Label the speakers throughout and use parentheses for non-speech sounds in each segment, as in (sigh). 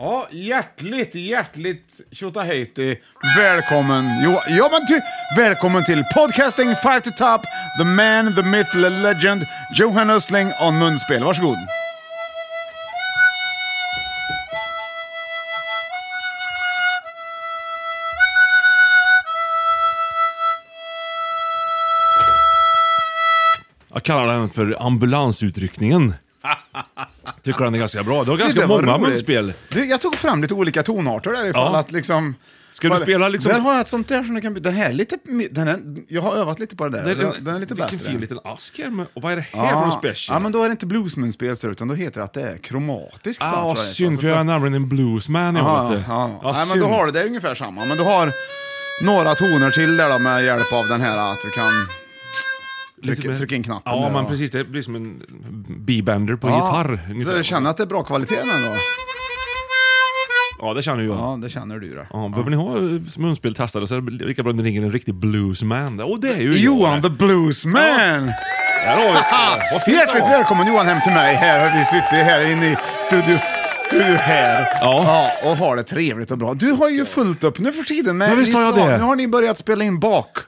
Speaker 1: Ja, hjärtligt, hjärtligt tjotahejti. Välkommen, jo, ja, men ty, välkommen till podcasting Five to Top, the man, the myth, the legend, Johan Östling on munspel. Varsågod.
Speaker 2: Jag kallar den för
Speaker 1: (laughs)
Speaker 2: ambulansutryckningen. Tycker den är ganska bra. Du har ganska
Speaker 1: Det var
Speaker 2: många
Speaker 1: roligt.
Speaker 2: munspel.
Speaker 1: Du, jag tog fram lite olika tonarter där ifall
Speaker 2: Ja.
Speaker 1: att liksom...
Speaker 2: Ska du
Speaker 1: Vad-
Speaker 2: spela liksom-
Speaker 1: Där har jag ett sånt där som du kan byta. Den här är lite... mi- Den är, jag har övat lite på det där. Den, den, är lite
Speaker 2: vilken
Speaker 1: bättre.
Speaker 2: fin liten ask här. Med, och vad är det här för någon special?
Speaker 1: ja, men då är det inte bluesmunspel utan då heter det att det är kromatiskt. då,
Speaker 2: ah,
Speaker 1: tror jag det heter.
Speaker 2: synd,
Speaker 1: Så
Speaker 2: för jag
Speaker 1: då-
Speaker 2: är nämligen en bluesman. jag
Speaker 1: Ja,
Speaker 2: vet du.
Speaker 1: ja.
Speaker 2: Ah,
Speaker 1: Nej, men
Speaker 2: synd.
Speaker 1: då har du det ungefär samma. Men du har några toner till där då med hjälp av den här att du kan
Speaker 2: Lite
Speaker 1: trycka,
Speaker 2: mer-
Speaker 1: trycka in knappen.
Speaker 2: Ja,
Speaker 1: där
Speaker 2: men
Speaker 1: då.
Speaker 2: precis. Det blir som en bebender på
Speaker 1: Ja,
Speaker 2: gitarr.
Speaker 1: Så
Speaker 2: ungefär.
Speaker 1: du känner att det är bra kvalitet ändå?
Speaker 2: Ja, det känner jag. Ja.
Speaker 1: Ja, det känner du då.
Speaker 2: Behöver ni ha eh, munspel testade så är det lika bra att ni ringer en riktig bluesman. Och det är ju
Speaker 1: Johan
Speaker 2: jag.
Speaker 1: the Bluesman!
Speaker 2: Där har vi det. Vad fint det
Speaker 1: Hjärtligt
Speaker 2: var.
Speaker 1: välkommen Johan hem till mig. Här har vi sitter här inne i studios, studio här.
Speaker 2: Ja.
Speaker 1: och har det trevligt och bra. Du har ju fullt upp nu för tiden med
Speaker 2: Ja, visst har jag
Speaker 1: listan.
Speaker 2: det.
Speaker 1: Nu har ni börjat spela in bak,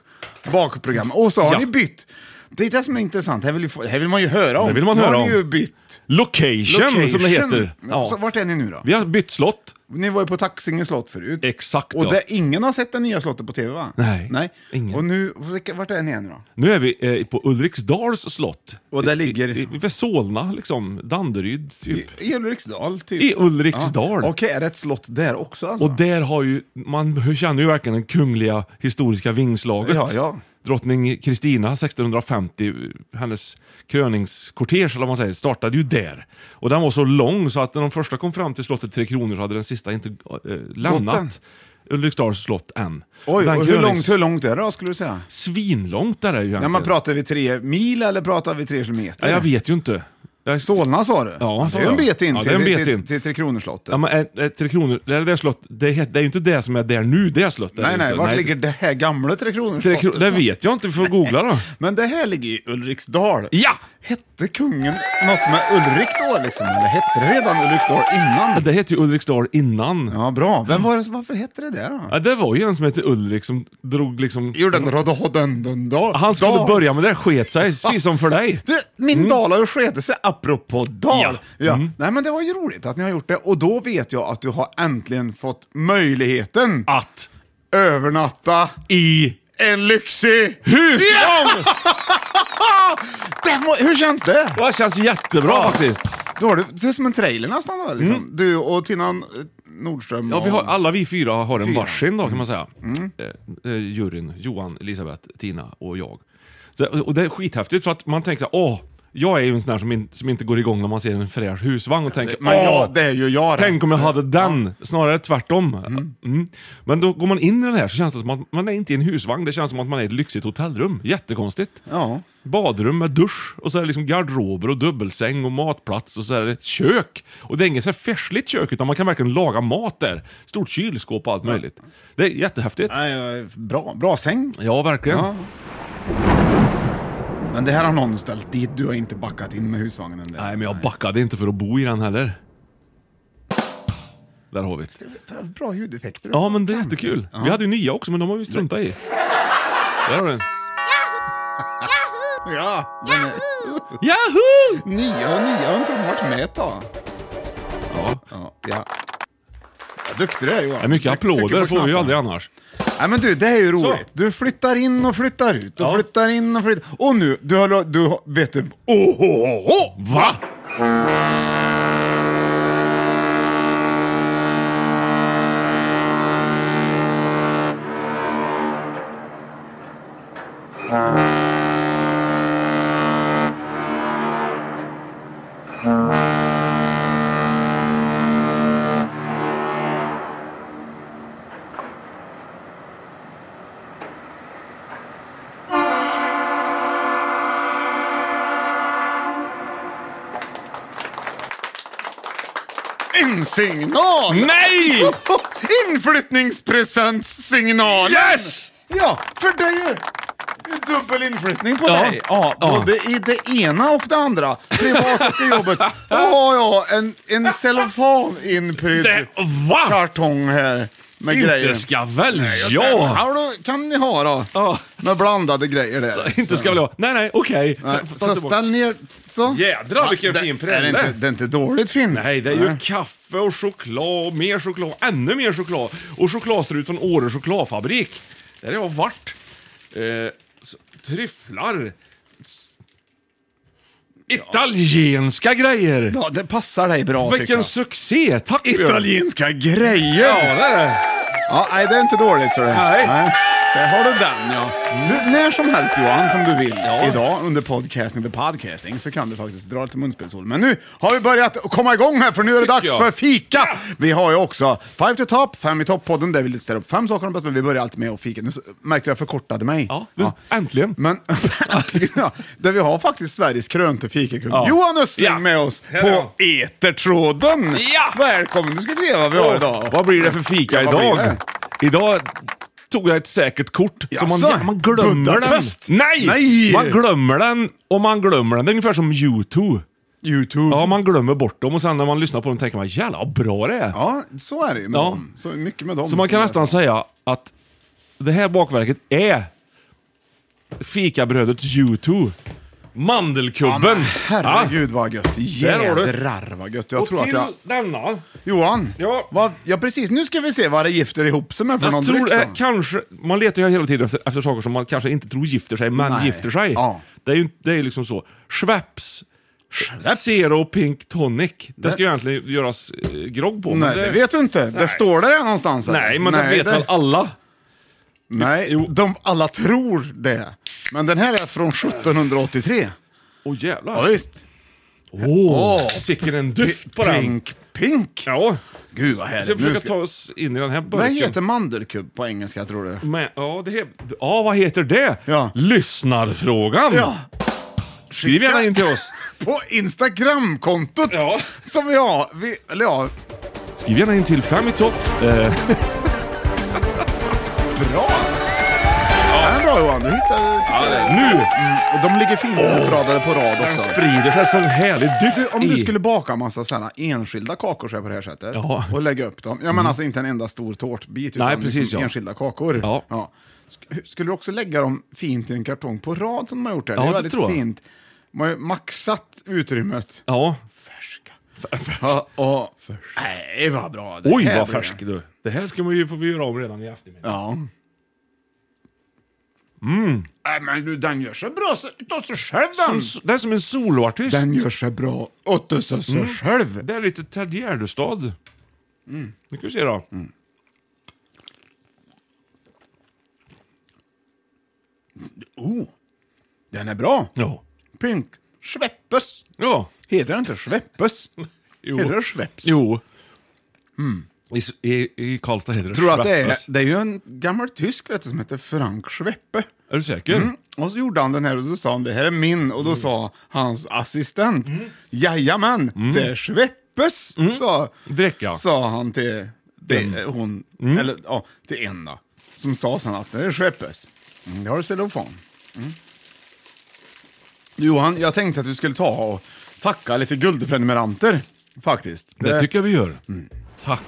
Speaker 1: bakprogram och så har
Speaker 2: Ja.
Speaker 1: ni bytt. Det är det som är intressant. Här vill, ju få, här vill man ju höra om.
Speaker 2: Det vill man
Speaker 1: nu
Speaker 2: höra
Speaker 1: har
Speaker 2: om.
Speaker 1: ni ju bytt.
Speaker 2: Location, som det heter.
Speaker 1: Ja. Så, vart är ni nu då?
Speaker 2: Vi har bytt slott.
Speaker 1: Ni var ju på Taxinge slott förut.
Speaker 2: Exakt,
Speaker 1: Och
Speaker 2: ja.
Speaker 1: där, ingen har sett det nya slottet på tv va?
Speaker 2: Nej,
Speaker 1: Nej.
Speaker 2: ingen.
Speaker 1: Och nu, vart är ni nu då?
Speaker 2: Nu är vi eh, på Ulriksdals slott.
Speaker 1: Och där
Speaker 2: I-
Speaker 1: ligger-
Speaker 2: I, i, vid Solna, liksom. Danderyd, typ.
Speaker 1: I Ulriksdal, typ.
Speaker 2: I Ulriksdal.
Speaker 1: Ja. Okej, är det ett slott där också alltså?
Speaker 2: Och där har ju, man känner ju verkligen det kungliga historiska vingslaget.
Speaker 1: Ja, ja.
Speaker 2: Drottning Kristina 1650, hennes kröningskortege eller vad man säger, startade ju där. Och den var så lång så att när de första kom fram till slottet Tre Kronor så hade den sista inte eh,
Speaker 1: än.
Speaker 2: lämnat Ulriksdals slott än.
Speaker 1: Oj,
Speaker 2: den
Speaker 1: och hur,
Speaker 2: krönings-
Speaker 1: långt, hur långt är det då, skulle du säga?
Speaker 2: Svinlångt där är det ju
Speaker 1: Ja,
Speaker 2: egentligen.
Speaker 1: men pratar vi tre mil eller pratar vi tre kilometer?
Speaker 2: ja, jag vet ju inte. Jag är
Speaker 1: Solna sa du?
Speaker 2: Ja,
Speaker 1: det
Speaker 2: sa
Speaker 1: är ju en
Speaker 2: jag.
Speaker 1: bit in
Speaker 2: Ja, det
Speaker 1: till,
Speaker 2: är en bit
Speaker 1: till,
Speaker 2: in.
Speaker 1: till Tre Kronor-slottet.
Speaker 2: Ja, men är, är Tre Kronor, det är det slottet, det, är- det är ju inte det som är där nu, det slottet. är
Speaker 1: nej,
Speaker 2: det
Speaker 1: nej,
Speaker 2: inte.
Speaker 1: vart ligger det här gamla Tre
Speaker 2: Tre
Speaker 1: Kronor-slottet?
Speaker 2: Kronor? Det vet jag inte, vi får googla
Speaker 1: (laughs)
Speaker 2: då.
Speaker 1: Men det här ligger i Ulriksdal.
Speaker 2: Ja!
Speaker 1: Hette kungen något med Ulrik då, liksom? Eller hette det redan Ulriksdal innan?
Speaker 2: Det hette ju Ulriksdal innan. Ja.
Speaker 1: Ja, bra. Vem var det, som- varför hette det det då?
Speaker 2: det var ju en som hette Ulrik som drog liksom...
Speaker 1: Gjorde en rodohodendondal.
Speaker 2: Han skulle börja med det, sket sig. Precis som för
Speaker 1: (laughs)
Speaker 2: dig.
Speaker 1: Du, min dal har ju sketit sig, apropå dal. Ja.
Speaker 2: Mm. Ja. Mm.
Speaker 1: Nej, men det var ju roligt att ni har gjort det. Och då vet jag att du har äntligen fått möjligheten
Speaker 2: Att
Speaker 1: övernatta
Speaker 2: i
Speaker 1: en lyxig...
Speaker 2: husvagn!
Speaker 1: Det må, hur känns det?
Speaker 2: Ja! Det känns jättebra
Speaker 1: Ja.
Speaker 2: faktiskt.
Speaker 1: Då har du, det är som en trailer nästan, va, liksom. Du och Tina eh, Nordström.
Speaker 2: Mm. Ja, vi har,
Speaker 1: och-
Speaker 2: alla vi fyra har en
Speaker 1: Fyra. Mm.
Speaker 2: varsin då kan man säga. Eh, eh, juryn, Johan, Elisabeth, Tina och jag. Så, och det är skithäftigt för att man tänker så här, åh, Jag är ju en sån där som, in, som inte går igång när man ser en fräsch husvagn och tänker
Speaker 1: Men ja,
Speaker 2: "Åh,
Speaker 1: det är ju jag det.
Speaker 2: Tänk om jag hade den! Snarare tvärtom. Mm. Men då går man in i den här så känns det som att man är inte i en husvagn, det känns som att man är i ett lyxigt hotellrum. Jättekonstigt.
Speaker 1: Ja.
Speaker 2: Badrum med dusch, och så är det liksom garderober och dubbelsäng och matplats och så är det ett kök. Och det är inget så här färsligt kök, utan man kan verkligen laga mat där. Stort kylskåp och allt möjligt. Det är jättehäftigt.
Speaker 1: Nej, ja, bra, bra säng.
Speaker 2: Ja, verkligen.
Speaker 1: Ja. Men det här har någon ställt dit. Du har inte backat in med husvagnen där.
Speaker 2: Nej, men jag backade inte för att bo i den heller. Där har vi det.
Speaker 1: Bra ljudeffekter.
Speaker 2: Ja, men det är jättekul. Vi hade ju nya också, men de har vi struntat i. Där har du den.
Speaker 1: Ja, den är...
Speaker 2: Yahoo!
Speaker 1: Nya och nya har inte de varit med ett tag.
Speaker 2: Ja.
Speaker 1: Ja, ja. Ja, Duktig du är Johan.
Speaker 2: Ja, mycket
Speaker 1: Tryck- trycker
Speaker 2: applåder
Speaker 1: på
Speaker 2: får vi ju
Speaker 1: knapparna.
Speaker 2: aldrig annars.
Speaker 1: Nej men du, det är ju roligt.
Speaker 2: Så.
Speaker 1: Du flyttar in och flyttar ut och
Speaker 2: Ja.
Speaker 1: flyttar in och flyttar... Och nu, du har... Du har vet du... Oh, oh, oh, oh.
Speaker 2: Va?
Speaker 1: En signal!
Speaker 2: Nej!
Speaker 1: Inflyttningspresentssignalen!
Speaker 2: Yes!
Speaker 1: Ja, för det är ju dubbel inflyttning på
Speaker 2: Ja.
Speaker 1: dig. Ja,
Speaker 2: Ja.
Speaker 1: både i det ena och det andra. Privat och i
Speaker 2: (laughs)
Speaker 1: jobbet. Då har jag en, en cellofan-inprydd
Speaker 2: Det, va?
Speaker 1: kartong här med grejer.
Speaker 2: Inte ska väl
Speaker 1: Den
Speaker 2: jag?
Speaker 1: här då kan ni ha då.
Speaker 2: Ja.
Speaker 1: Med blandade grejer
Speaker 2: (laughs)
Speaker 1: där.
Speaker 2: Inte ska väl jag? Nej, nej, okej.
Speaker 1: Nej,
Speaker 2: Ta
Speaker 1: Så
Speaker 2: tillbaka.
Speaker 1: ställ ner. Så.
Speaker 2: Jädrar, vilken
Speaker 1: det-
Speaker 2: fin
Speaker 1: är det,
Speaker 2: prälle.
Speaker 1: inte, det är inte dåligt fint.
Speaker 2: Nej, det är ju kaffe och choklad och mer choklad, ännu mer choklad. Och chokladstrut från Åre chokladfabrik. Där har jag varit. Eh, så- tryfflar. S- Italienska grejer!
Speaker 1: Ja, det passar dig bra tycker
Speaker 2: Vilken
Speaker 1: jag.
Speaker 2: succé! Tack Björn!
Speaker 1: Italienska grejer!
Speaker 2: Ja, det är det.
Speaker 1: Ja, nej, det är inte dåligt. Så det.
Speaker 2: Nej.
Speaker 1: Där har du den ja. Du, när som helst Johan, som du vill, idag under podcasting, the podcasting, så kan du faktiskt dra lite munspelshål. Men nu har vi börjat komma igång här, för nu är det
Speaker 2: Tycker
Speaker 1: dags
Speaker 2: jag.
Speaker 1: för fika! Vi har ju också Five to top, Fem i topp-podden, där vi listar upp fem saker om bäst, men vi börjar alltid med att fika. Nu så- märkte jag förkortade mig.
Speaker 2: Ja, du, äntligen.
Speaker 1: Men (laughs) ja, där vi har faktiskt Sveriges krönte fikakung,
Speaker 2: Ja.
Speaker 1: Johan Östling,
Speaker 2: Ja.
Speaker 1: med oss
Speaker 2: Här är han.
Speaker 1: på Etertråden!
Speaker 2: Ja.
Speaker 1: Välkommen, nu ska vi se vad vi har idag.
Speaker 2: Vad blir det för fika
Speaker 1: Ja, vad blir
Speaker 2: idag?
Speaker 1: det?
Speaker 2: Idag tog jag ett säkert kort. Så man,
Speaker 1: Jaså?
Speaker 2: man glömmer
Speaker 1: Budapest?
Speaker 2: den. Nej!
Speaker 1: Nej!
Speaker 2: Man glömmer den och man glömmer den. Det är ungefär som U2.
Speaker 1: YouTube.
Speaker 2: Ja, man glömmer bort dem och sen när man lyssnar på dem tänker man jävlar vad bra det är.
Speaker 1: Ja, så är det ju med
Speaker 2: Ja.
Speaker 1: dem. Så mycket med dem.
Speaker 2: Så man kan
Speaker 1: som
Speaker 2: nästan
Speaker 1: jag sa.
Speaker 2: säga att det här bakverket är fikabrödets U2.
Speaker 1: Ja, men
Speaker 2: Mandelkubben.
Speaker 1: herregud vad gött.
Speaker 2: Där har du.
Speaker 1: Jädrar vad gött. Jag
Speaker 2: och
Speaker 1: tror att
Speaker 2: till
Speaker 1: jag...
Speaker 2: denna.
Speaker 1: Johan?
Speaker 2: Ja.
Speaker 1: Vad, ja, precis. Nu ska vi se vad det gifter ihop sig med för någon
Speaker 2: Jag tror
Speaker 1: dryck
Speaker 2: det,
Speaker 1: då.
Speaker 2: kanske, man letar ju hela tiden efter, efter saker som man kanske inte tror gifter sig, men
Speaker 1: Nej.
Speaker 2: gifter sig.
Speaker 1: Ja.
Speaker 2: Det är ju det är ju liksom så. Schweppes, Zero Pink Tonic. Det ska ju egentligen göras eh, grogg på. men
Speaker 1: Nej, det vet du inte. Det står där någonstans. eller?
Speaker 2: Nej, men det vet väl alla?
Speaker 1: Nej,
Speaker 2: Jo.
Speaker 1: de, alla tror det. Men den här är från 1783.
Speaker 2: Åh jävlar.
Speaker 1: Ja, visst.
Speaker 2: Åh, sicken en duft på den.
Speaker 1: Pink, pink.
Speaker 2: Ja.
Speaker 1: Gud vad
Speaker 2: Vi ska
Speaker 1: härligt. Nu
Speaker 2: försöka
Speaker 1: ska-
Speaker 2: ta oss in i den här burken.
Speaker 1: Vad heter mandelkubb på engelska tror du?
Speaker 2: Men, ja, det he- ja, vad heter det?
Speaker 1: Ja.
Speaker 2: Lyssnarfrågan.
Speaker 1: Ja.
Speaker 2: Skriv gärna in till oss.
Speaker 1: På Instagramkontot
Speaker 2: Ja.
Speaker 1: som vi har. Vi, eller ja,
Speaker 2: Skriv gärna in till Fem i topp. Eh,
Speaker 1: Bra! Ja. Den är bra Johan, du hittar du tycker det.
Speaker 2: nu!
Speaker 1: Mm, och de ligger fint uppradade på rad
Speaker 2: Den
Speaker 1: också.
Speaker 2: sprider sig som härlig duft
Speaker 1: Du, om du
Speaker 2: i.
Speaker 1: skulle baka massa sådana enskilda kakor så här på det här sättet
Speaker 2: Ja. Mm.
Speaker 1: och lägga upp dem. Ja men alltså inte en enda stor tårtbit utan
Speaker 2: Nej, precis,
Speaker 1: liksom
Speaker 2: ja.
Speaker 1: enskilda kakor.
Speaker 2: Ja.
Speaker 1: Sk- hur- Skulle du också lägga dem fint i en kartong på rad som de har gjort här?
Speaker 2: Ja,
Speaker 1: det är
Speaker 2: det
Speaker 1: väldigt
Speaker 2: tror jag.
Speaker 1: fint. Man har ju maxat utrymmet.
Speaker 2: Ja.
Speaker 1: Ja, och... Nej, vad bra. Det
Speaker 2: Oj,
Speaker 1: här
Speaker 2: vad
Speaker 1: blir det.
Speaker 2: färsk du. Det här ska man ju få göra om redan i eftermiddag.
Speaker 1: Ja. Mm. Nej men du, den gör sig bra så- utav sig själv
Speaker 2: Som,
Speaker 1: den.
Speaker 2: s- det är som en soloartist.
Speaker 1: Den gör sig bra utav sig sig själv.
Speaker 2: Det är lite Ted Gärdestad.
Speaker 1: Mm.
Speaker 2: Nu ska vi se då.
Speaker 1: Oh, den är bra.
Speaker 2: Ja.
Speaker 1: Oh, Pink, svepp, Sveppes.
Speaker 2: Ja.
Speaker 1: Heter det inte Sveppes?
Speaker 2: Jo.
Speaker 1: Heter det Sveps?
Speaker 2: Jo. I, s- i, I Karlstad heter det
Speaker 1: Mm. Tror du att det är,
Speaker 2: Schweppes.
Speaker 1: det är ju en gammal tysk vet du, som heter Frank Schweppe.
Speaker 2: Är du säker?
Speaker 1: Mm. Och så gjorde han den här och då sa han det här är min och då
Speaker 2: Mm.
Speaker 1: sa hans assistent jajamän,
Speaker 2: Mm.
Speaker 1: det är Schweppes, sa,
Speaker 2: Dricka.
Speaker 1: sa han till, till hon,
Speaker 2: Mm.
Speaker 1: eller ja, till en då, som sa sen att det är Schweppes. Mm, det har du cellofan. Mm. Johan, jag tänkte att du skulle ta och tacka lite guldprenumeranter, faktiskt.
Speaker 2: Det tycker jag vi gör.
Speaker 1: Mm.
Speaker 2: Tack.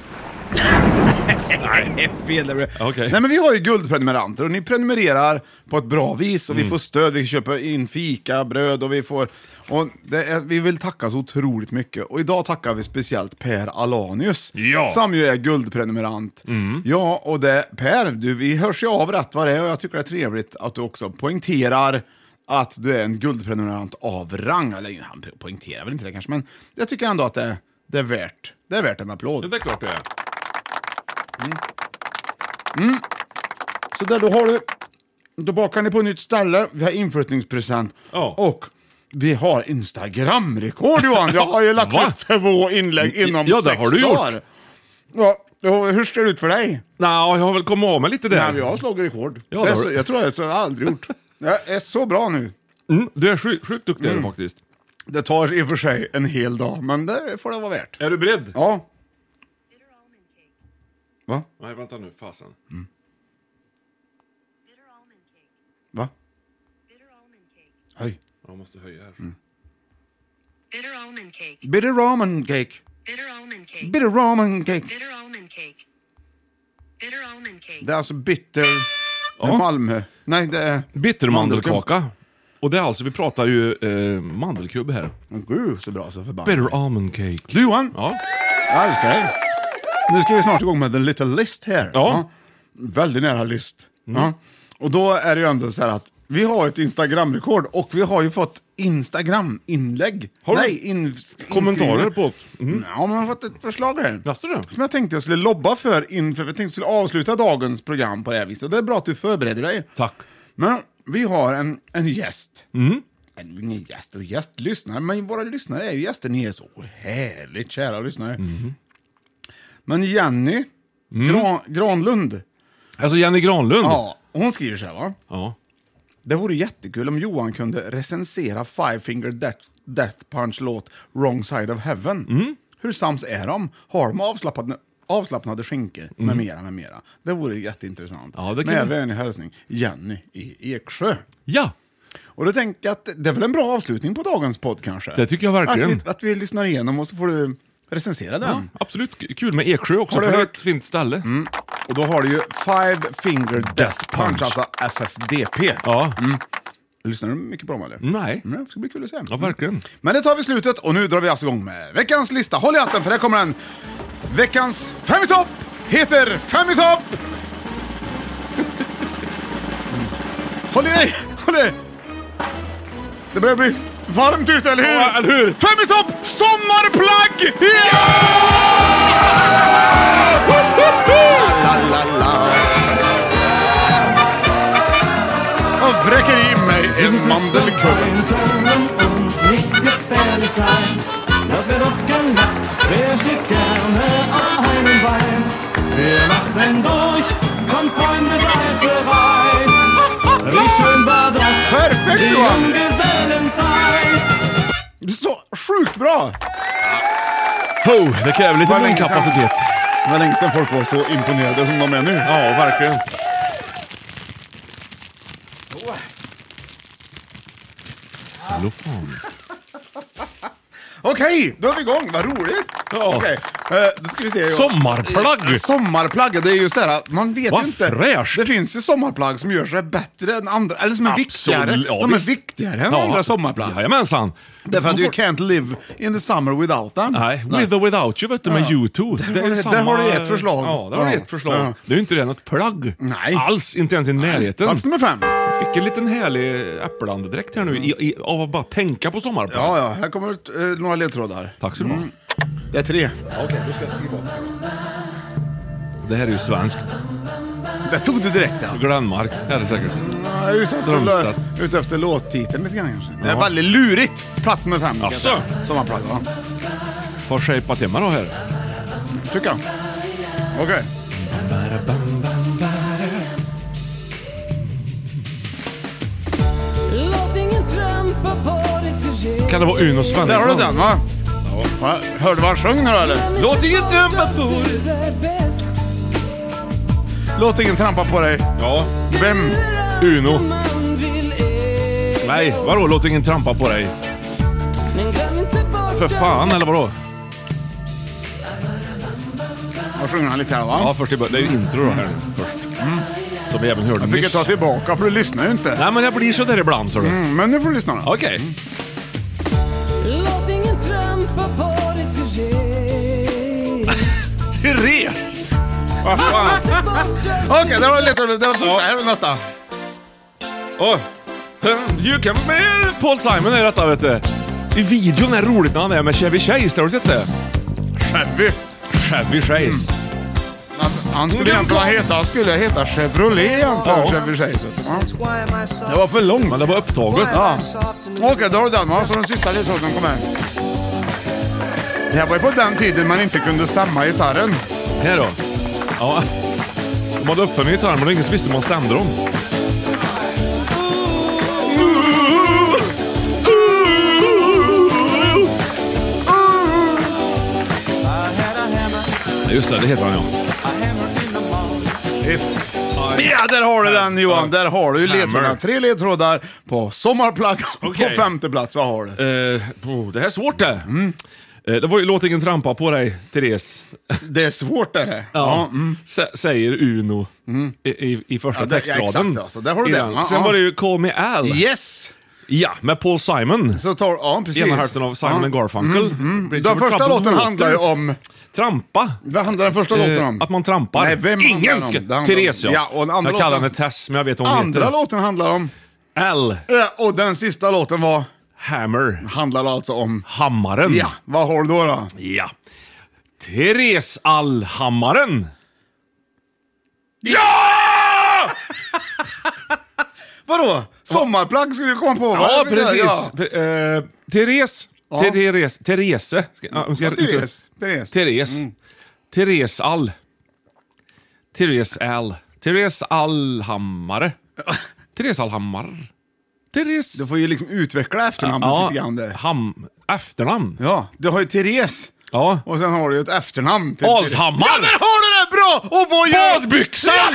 Speaker 1: Nej, fel det blev.
Speaker 2: Okej.
Speaker 1: Nej men vi har ju guldprenumeranter och ni prenumererar på ett bra vis
Speaker 2: Mm.
Speaker 1: och vi får stöd, vi köper in fika, bröd och vi får... Och det är, vi vill tacka så otroligt mycket och idag tackar vi speciellt Per Alanius.
Speaker 2: Ja. Mm.
Speaker 1: Som ju är guldprenumerant. Ja, och det, Per, du, vi hörs ju av rätt vad det är och jag tycker det är trevligt att du också poängterar att du är en guldprenumerant av rang. Eller han poängterar väl inte det kanske, men jag tycker ändå att det, det är värt. Det är värt en applåd.
Speaker 2: Ja, det är klart det är.
Speaker 1: Så där, då har du... Då bakar ni på ett nytt ställe, vi har inflyttningspresent
Speaker 2: Ja.
Speaker 1: och vi har Instagram-rekord Johan! Jag har ju lagt
Speaker 2: Va?
Speaker 1: upp två inlägg inom
Speaker 2: Ja, det
Speaker 1: sex
Speaker 2: har du gjort.
Speaker 1: dagar. Ja, och hur ser det ut för dig?
Speaker 2: Nå, jag har väl kommit av mig lite där.
Speaker 1: Nej, jag har slagit rekord.
Speaker 2: Ja,
Speaker 1: det
Speaker 2: det
Speaker 1: är
Speaker 2: har
Speaker 1: så,
Speaker 2: du.
Speaker 1: jag tror jag, jag har aldrig gjort. Jag är så bra nu.
Speaker 2: mm, du är sjukt, sjukt duktig
Speaker 1: Mm.
Speaker 2: är du faktiskt.
Speaker 1: Det tar i och för sig en hel dag, men det får det vara värt.
Speaker 2: Är du beredd?
Speaker 1: Ja. Va?
Speaker 2: Nej, vänta nu. Fasen.
Speaker 1: Va? Hej.
Speaker 2: Jag måste höja här.
Speaker 3: Bitter almond cake.
Speaker 1: Bitter ramen cake.
Speaker 3: Bitter almond cake.
Speaker 1: Bitter ramen cake.
Speaker 3: Bitter almond cake. Bitter almond cake.
Speaker 1: Det är alltså bitter... Ja. Malmö. Nej, det är...
Speaker 2: Bittermandelkaka. Och det är alltså, vi pratar ju eh, mandelkubb här.
Speaker 1: Men Gud, så bra så förbannat.
Speaker 2: Bitter almond cake.
Speaker 1: Du Johan,
Speaker 2: Ja.
Speaker 1: jag älskar dig. Nu ska vi snart igång med The Little List här.
Speaker 2: Ja. Mm.
Speaker 1: Väldigt nära list. Ja. Och då är det ju ändå så här att vi har ett Instagram-rekord och vi har ju fått Instagram-inlägg.
Speaker 2: Har du
Speaker 1: Nej, ins-
Speaker 2: Kommentarer
Speaker 1: inskrivningar.
Speaker 2: på ett-
Speaker 1: Ja, men jag har fått ett förslag här.
Speaker 2: Jaså du?
Speaker 1: Som jag tänkte jag skulle lobba för inför, jag tänkte jag skulle avsluta dagens program på det här viset. Det är bra att du förbereder dig.
Speaker 2: Tack.
Speaker 1: Men vi har en, en gäst. En, ingen gäst och gäst, lyssnare. Men våra lyssnare är ju gäster. Ni är så härligt kära lyssnare. Men Jenny Gran, Granlund,
Speaker 2: Alltså Jenny Granlund.
Speaker 1: ja, hon skriver så här va.
Speaker 2: Ja.
Speaker 1: Det vore jättekul om Johan kunde recensera Five Finger Death, Death Punch låt Wrong Side of Heaven. Hur sams är de? Har de avslappnade, avslappnade skinkor? Med mera, med mera. Det vore jätteintressant.
Speaker 2: Ja, det kan
Speaker 1: Med
Speaker 2: vi-
Speaker 1: vänlig hälsning, Jenny i Eksjö.
Speaker 2: Ja.
Speaker 1: Och då tänkte jag att det är väl en bra avslutning på dagens podd kanske?
Speaker 2: Det tycker jag verkligen.
Speaker 1: Att vi, att vi lyssnar igenom och så får du recensera den.
Speaker 2: ja. Absolut K- kul med Eksjö också,
Speaker 1: Har du
Speaker 2: för det är
Speaker 1: hört- Mm.
Speaker 2: ett fint ställe.
Speaker 1: Och då har du ju Five Finger Death, Punch,
Speaker 2: Punch.
Speaker 1: alltså FFDP.
Speaker 2: Ja.
Speaker 1: Mm. Lyssnar du mycket på dem eller?
Speaker 2: Nej.
Speaker 1: Mm, det ska bli kul att se.
Speaker 2: Ja, verkligen.
Speaker 1: Men det tar vi slutet och nu drar vi alltså igång med veckans lista. Håll i hatten för här kommer den. Veckans Fem i topp heter Fem i topp! (laughs) Håll i dig! Håll i dig! Det börjar bli varmt ute, eller hur?
Speaker 2: Ja, eller hur?
Speaker 1: Fem i topp! Sommarplagg! Ja! La, la, la. Jag vräker i mig en mandelkubb. Perfekt Johan! Så sjukt bra!
Speaker 2: Ho, det kräver lite
Speaker 1: Vad länge sedan.
Speaker 2: munkapacitet.
Speaker 1: Det var länge sedan folk var så imponerade som de är nu.
Speaker 2: Ja, verkligen. Cellofan.
Speaker 1: Okej, då är vi igång. Vad roligt!
Speaker 2: Ja.
Speaker 1: Okej, eh, då ska vi se. Johan.
Speaker 2: Sommarplagg!
Speaker 1: Sommarplagg, det är ju såhär, man vet
Speaker 2: Vad
Speaker 1: inte.
Speaker 2: fräscht.
Speaker 1: Det finns ju sommarplagg som gör sig bättre än andra, eller som är
Speaker 2: Absolut,
Speaker 1: viktigare.
Speaker 2: ja,
Speaker 1: de är
Speaker 2: visst.
Speaker 1: viktigare än andra sommarplagg.
Speaker 2: Jajamensan.
Speaker 1: Därför att
Speaker 2: Man
Speaker 1: you
Speaker 2: får-
Speaker 1: can't live in the summer without them.
Speaker 2: Nej, with or without you vet du, med U2.
Speaker 1: Där
Speaker 2: Det
Speaker 1: har
Speaker 2: är
Speaker 1: du-
Speaker 2: samma-
Speaker 1: där har du ett förslag.
Speaker 2: Ja, där har du
Speaker 1: Ja.
Speaker 2: ett förslag.
Speaker 1: Ja.
Speaker 2: Det är ju inte redan ett plagg.
Speaker 1: Nej.
Speaker 2: Alls, inte ens i närheten.
Speaker 1: Plats nummer fem.
Speaker 2: Jag fick en liten härlig äppelandedräkt här nu i, i, av att bara tänka på sommarplagg.
Speaker 1: Ja, Mm. ja, här kommer ut, eh, några ledtrådar.
Speaker 2: Tack så du ha.
Speaker 1: Det är tre.
Speaker 2: Det här är ju svenskt.
Speaker 1: Där tog du direkt den.
Speaker 2: Glenmark är det säkert.
Speaker 1: Ja, Ute efter,
Speaker 2: Strömstedt.
Speaker 1: ute efter låttiteln lite grann kanske. Det är väldigt lurigt. Plats nummer fem.
Speaker 2: Jaså?
Speaker 1: Sommarplatta.
Speaker 2: Har shapat hemma då här.
Speaker 1: Tycker jag. Okej.
Speaker 4: Låt ingen trampa på dig till gäng.
Speaker 2: Kan det vara Uno Svensson?
Speaker 1: Där har du den va? va? Hörde du vad han sjöng nu då eller?
Speaker 2: Låt ingen trampa på dig.
Speaker 4: Du är bäst.
Speaker 1: Låt ingen trampa på dig.
Speaker 2: Ja.
Speaker 1: Vem?
Speaker 2: Uno.
Speaker 4: Man vill er.
Speaker 2: Nej, vadå? Låt ingen trampa på dig.
Speaker 4: Men glöm inte bort
Speaker 2: För fan, eller vadå?
Speaker 1: Då sjunger han lite här va?
Speaker 2: Ja, först i bör- Det är ju intro då här nu, först. Som vi även hörde
Speaker 1: Mm. jag fick ju
Speaker 2: nyss.
Speaker 1: ta tillbaka för du lyssnar ju inte.
Speaker 2: Nej, men jag blir sådär ibland, så du.
Speaker 1: Mm, men nu får du lyssna då.
Speaker 2: Okej.
Speaker 4: Låt ingen trampa på dig till gäng.
Speaker 2: Therese!
Speaker 1: Vad fan? Okej, det var lite roligt. Det var
Speaker 2: Ja.
Speaker 1: första. Här är nästa.
Speaker 2: Oh. You can be... Paul Simon är detta, vet du. I videon är det roligt när han är med Chevy Chase. Har du sett det?
Speaker 1: Chevy.
Speaker 2: Chevy Chase.
Speaker 1: Mm. Han, han skulle
Speaker 2: Mm,
Speaker 1: egentligen heta, han skulle heta Chevrolet egentligen.
Speaker 2: Ja.
Speaker 1: Chevy Chase. Ja. Det var för
Speaker 2: Men
Speaker 1: långt.
Speaker 2: det var upptaget.
Speaker 1: Ja. Okej, då har du den va? Så den sista ledtråden kommer. Det här var ju på den tiden man inte kunde stämma gitarren.
Speaker 2: Här då. Ja. De hade uppfunnit gitarren, men det var ingen som visste hur man stämde dem. Ja, Just det, det heter han ja.
Speaker 1: Ja, där har du den Johan. Där har du ju ledtrådarna.
Speaker 2: Hammer.
Speaker 1: Tre ledtrådar på sommarplats och
Speaker 2: Okej.
Speaker 1: på femte plats. Vad har du?
Speaker 2: Eh, oh, det här är svårt det.
Speaker 1: Mm.
Speaker 2: Eh, det var ju Låt ingen trampa på dig, Therese.
Speaker 1: Det är svårt är det.
Speaker 2: Ja.
Speaker 1: mm.
Speaker 2: Sä- Säger Uno i, i, i första
Speaker 1: Ja, det- ja,
Speaker 2: textraden.
Speaker 1: exakt, ja. Så där har du
Speaker 2: I
Speaker 1: den, ja,
Speaker 2: Sen
Speaker 1: ja.
Speaker 2: var det ju Call Me Al.
Speaker 1: Yes!
Speaker 2: Ja, med Paul Simon.
Speaker 1: Så tar, ja, precis. Mm,
Speaker 2: Ena hälften av Simon and Garfunkel. Bridge
Speaker 1: Den
Speaker 2: over
Speaker 1: första
Speaker 2: Troubled
Speaker 1: låten
Speaker 2: Water.
Speaker 1: handlar ju om...
Speaker 2: Trampa.
Speaker 1: Vad handlar den första låten
Speaker 2: Eh,
Speaker 1: om?
Speaker 2: Att man trampar.
Speaker 1: Nej, vem handlar
Speaker 2: Ingen!
Speaker 1: den om? Det handlar om-
Speaker 2: Therese ja.
Speaker 1: Ja, och den andra
Speaker 2: jag kallar
Speaker 1: låten-
Speaker 2: henne Tess, men jag vet vad hon
Speaker 1: Andra
Speaker 2: heter.
Speaker 1: låten handlar om...
Speaker 2: L.
Speaker 1: Ja, Och den sista låten var...
Speaker 2: Hammer.
Speaker 1: Handlar alltså om...
Speaker 2: Hammaren.
Speaker 1: Ja, vad har du då? då?
Speaker 2: ja. Therese Allhammaren. Ja!
Speaker 1: (laughs) Vadå? Sommarplagg skulle du komma på va?
Speaker 2: Ja,
Speaker 1: Jag vet inte,
Speaker 2: precis.
Speaker 1: Ja.
Speaker 2: P- eh, Therese.
Speaker 1: Ja.
Speaker 2: Te- Therese. Therese. Ska- ja, hon ska-
Speaker 1: Ja, Therese. Mm. Therese.
Speaker 2: Therese. Therese All. Therese All. Therese Allhammare.
Speaker 1: (laughs)
Speaker 2: Therese Allhammar. Therese...
Speaker 1: Du får ju liksom utveckla efternamnet lite grann där.
Speaker 2: ham, efternamn.
Speaker 1: Ja, du har ju Therese.
Speaker 2: Ja.
Speaker 1: Och sen har du ju ett efternamn. till
Speaker 2: Alshammar!
Speaker 1: Ja, där har du det! Bra! Och vad gör... (laughs)
Speaker 2: Badbyxan!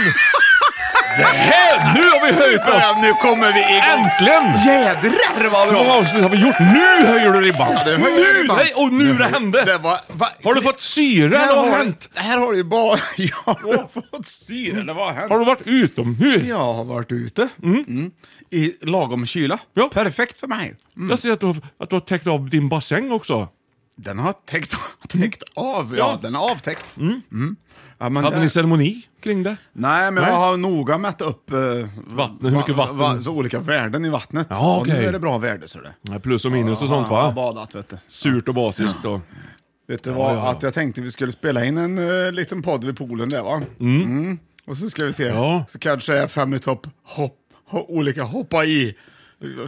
Speaker 2: det här, nu har vi höjt oss!
Speaker 1: Ja, nu kommer vi igång!
Speaker 2: Äntligen!
Speaker 1: Jädrar vad
Speaker 2: Hur många
Speaker 1: bra!
Speaker 2: avsnitt har vi gjort? Nu höjer du ribban!
Speaker 1: Ja, det höjer
Speaker 2: nu!
Speaker 1: ribban.
Speaker 2: Nej, och nu det hände!
Speaker 1: Det var, va?
Speaker 2: Har du fått syre
Speaker 1: Här
Speaker 2: eller vad har
Speaker 1: har du-
Speaker 2: hänt?
Speaker 1: Här har du ju bara... (laughs) Ja, har du fått syre eller vad har hänt?
Speaker 2: Har du varit utomhus?
Speaker 1: Jag har varit ute. Mm. I lagom kyla.
Speaker 2: Ja.
Speaker 1: Perfekt för mig.
Speaker 2: Jag ser att du, har, att du har täckt av din bassäng också.
Speaker 1: Den har täckt, (laughs) täckt av. Ja,
Speaker 2: Ja.
Speaker 1: den är avtäckt. Mm. Ja, men
Speaker 2: Hade
Speaker 1: det-
Speaker 2: ni ceremoni kring det?
Speaker 1: Nej, men
Speaker 2: Nej.
Speaker 1: jag har noga mätt upp eh,
Speaker 2: Vatten, hur mycket vatten?
Speaker 1: så olika värden i vattnet.
Speaker 2: Ja,
Speaker 1: Och nu
Speaker 2: okej.
Speaker 1: är det bra värde. Så det.
Speaker 2: Nej, Plus och minus och sånt
Speaker 1: Ja, Jag har
Speaker 2: va?
Speaker 1: badat, vet du.
Speaker 2: Surt och basiskt och...
Speaker 1: Vet du vad,
Speaker 2: Ja, ja.
Speaker 1: att jag tänkte vi skulle spela in en eh, liten podd vid poolen där va? Mm. Och så ska vi se,
Speaker 2: Ja.
Speaker 1: så kanske är fem i topp, hopp, ho, olika hoppa i.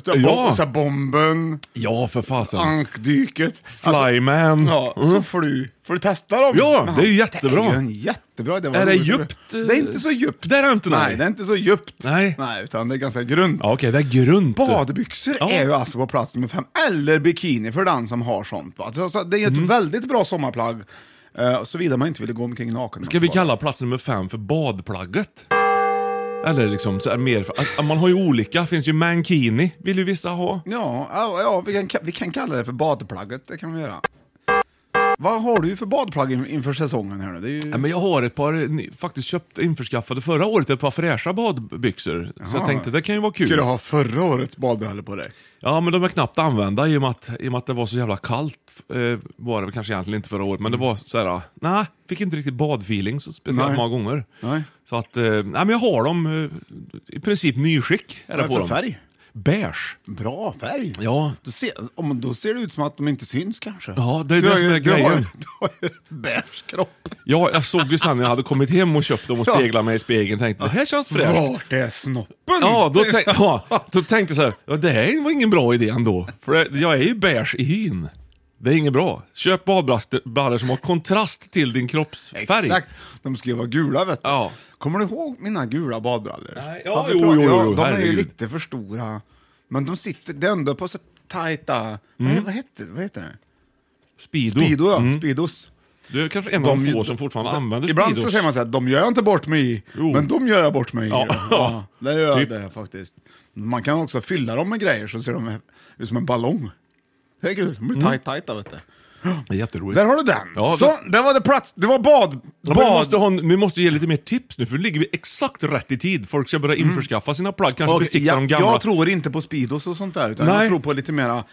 Speaker 1: Så här,
Speaker 2: Ja.
Speaker 1: bom- Så här, bomben,
Speaker 2: Ja, för fasen.
Speaker 1: ankdyket. Alltså,
Speaker 2: Flyman.
Speaker 1: ja, så får du, får du testa dem.
Speaker 2: Ja, det är ju
Speaker 1: Det är ju
Speaker 2: jättebra.
Speaker 1: en jättebra idé. Vad
Speaker 2: Är det
Speaker 1: roligt.
Speaker 2: djupt? eh?
Speaker 1: Det är inte så djupt.
Speaker 2: Det är det inte, nej.
Speaker 1: det är inte så djupt.
Speaker 2: Nej.
Speaker 1: Nej, utan det är ganska grunt.
Speaker 2: Ja, okej, det är grunt.
Speaker 1: Badbyxor
Speaker 2: Ja.
Speaker 1: är ju alltså på plats nummer fem, eller bikini för den som har sånt. Va? Så, så, det är ju ett
Speaker 2: Mm.
Speaker 1: väldigt bra sommarplagg, uh, såvida man inte vill gå omkring naken.
Speaker 2: Ska vi kalla plats nummer fem för badplagget? Eller liksom, så här, mer för, att- att man har ju olika. finns ju mankini, vill ju vissa ha.
Speaker 1: Ja, ja, ja vi, kan, ka- vi kan kalla det för badplagget, det kan vi göra. Vad har du för badplagg in, inför säsongen här nu? Det är ju...
Speaker 2: Ja, men jag har ett par, eh, ni- faktiskt köpt, införskaffade förra året ett par fräscha badbyxor. Så jag tänkte det kan ju vara kul.
Speaker 1: Ska du ha förra årets badbrallor på dig?
Speaker 2: Ja, men de är knappt använda i och med att, i och med att det var så jävla kallt. Eh, var det väl kanske egentligen inte förra året, men det var så här, nej, fick inte riktigt badfeeling så speciellt
Speaker 1: Mm. Nej.
Speaker 2: många gånger.
Speaker 1: Nej.
Speaker 2: Så att, eh, nej men jag har dem eh, i princip nyskick. Är det
Speaker 1: Vad är
Speaker 2: på
Speaker 1: för
Speaker 2: dem.
Speaker 1: färg?
Speaker 2: beige.
Speaker 1: Bra färg.
Speaker 2: Ja.
Speaker 1: Då ser, om, då ser det ut som att de inte syns kanske.
Speaker 2: Ja, det är
Speaker 1: du
Speaker 2: det
Speaker 1: har
Speaker 2: som
Speaker 1: ju-
Speaker 2: är
Speaker 1: du Har,
Speaker 2: grejen.
Speaker 1: (laughs) du har ju ett beige kropp.
Speaker 2: Ja, jag såg ju sen när jag hade kommit hem och köpt dem och
Speaker 1: Ja.
Speaker 2: speglat mig i spegeln tänkte det här känns fräscht.
Speaker 1: Vart är snoppen?
Speaker 2: Ja, då,
Speaker 1: (laughs)
Speaker 2: tänk, (laughs) ja, då tänkte jag så här, ja, det här var ingen bra idé ändå. För det, jag är ju beige i hyn. Det är inget bra. Köp badbrallor brallor som har kontrast till din kroppsfärg.
Speaker 1: Exakt. De ska ju vara gula vet du.
Speaker 2: Ja.
Speaker 1: Kommer du ihåg mina gula badbrallor?
Speaker 2: Nej, ja,
Speaker 1: vi
Speaker 2: jo,
Speaker 1: pratat-
Speaker 2: jo, jo,
Speaker 1: De är ju
Speaker 2: herregud.
Speaker 1: lite för stora. Men de sitter, det är ändå på så tajta... Nej, vad heter, vad heter det?
Speaker 2: Mm. Speedo.
Speaker 1: Speedo, ja. Speedos.
Speaker 2: Du är kanske en av de, få som fortfarande
Speaker 1: de-
Speaker 2: använder
Speaker 1: Ibland
Speaker 2: Speedos.
Speaker 1: så säger man såhär, de gör jag inte bort mig i,
Speaker 2: Jo.
Speaker 1: men de gör jag bort mig i.
Speaker 2: Ja.
Speaker 1: det gör
Speaker 2: Typ.
Speaker 1: det faktiskt. Man kan också fylla dem med grejer så ser de ut som en ballong. Det är kul, de
Speaker 2: Mm.
Speaker 1: blir tajt tajta vet du.
Speaker 2: Det är jätteroligt.
Speaker 1: Där har du den!
Speaker 2: Ja,
Speaker 1: så, det var det plats, det var bad...
Speaker 2: Ja, men vi,
Speaker 1: bad.
Speaker 2: måste ha en, vi måste ge lite mer tips nu, för nu ligger vi exakt rätt i tid. Folk ska
Speaker 1: Mm.
Speaker 2: börja införskaffa sina plagg, kanske
Speaker 1: Okej,
Speaker 2: besikta de
Speaker 1: jag,
Speaker 2: gamla.
Speaker 1: jag tror inte på Speedos och sånt där, utan
Speaker 2: Nej.
Speaker 1: jag tror på lite mera...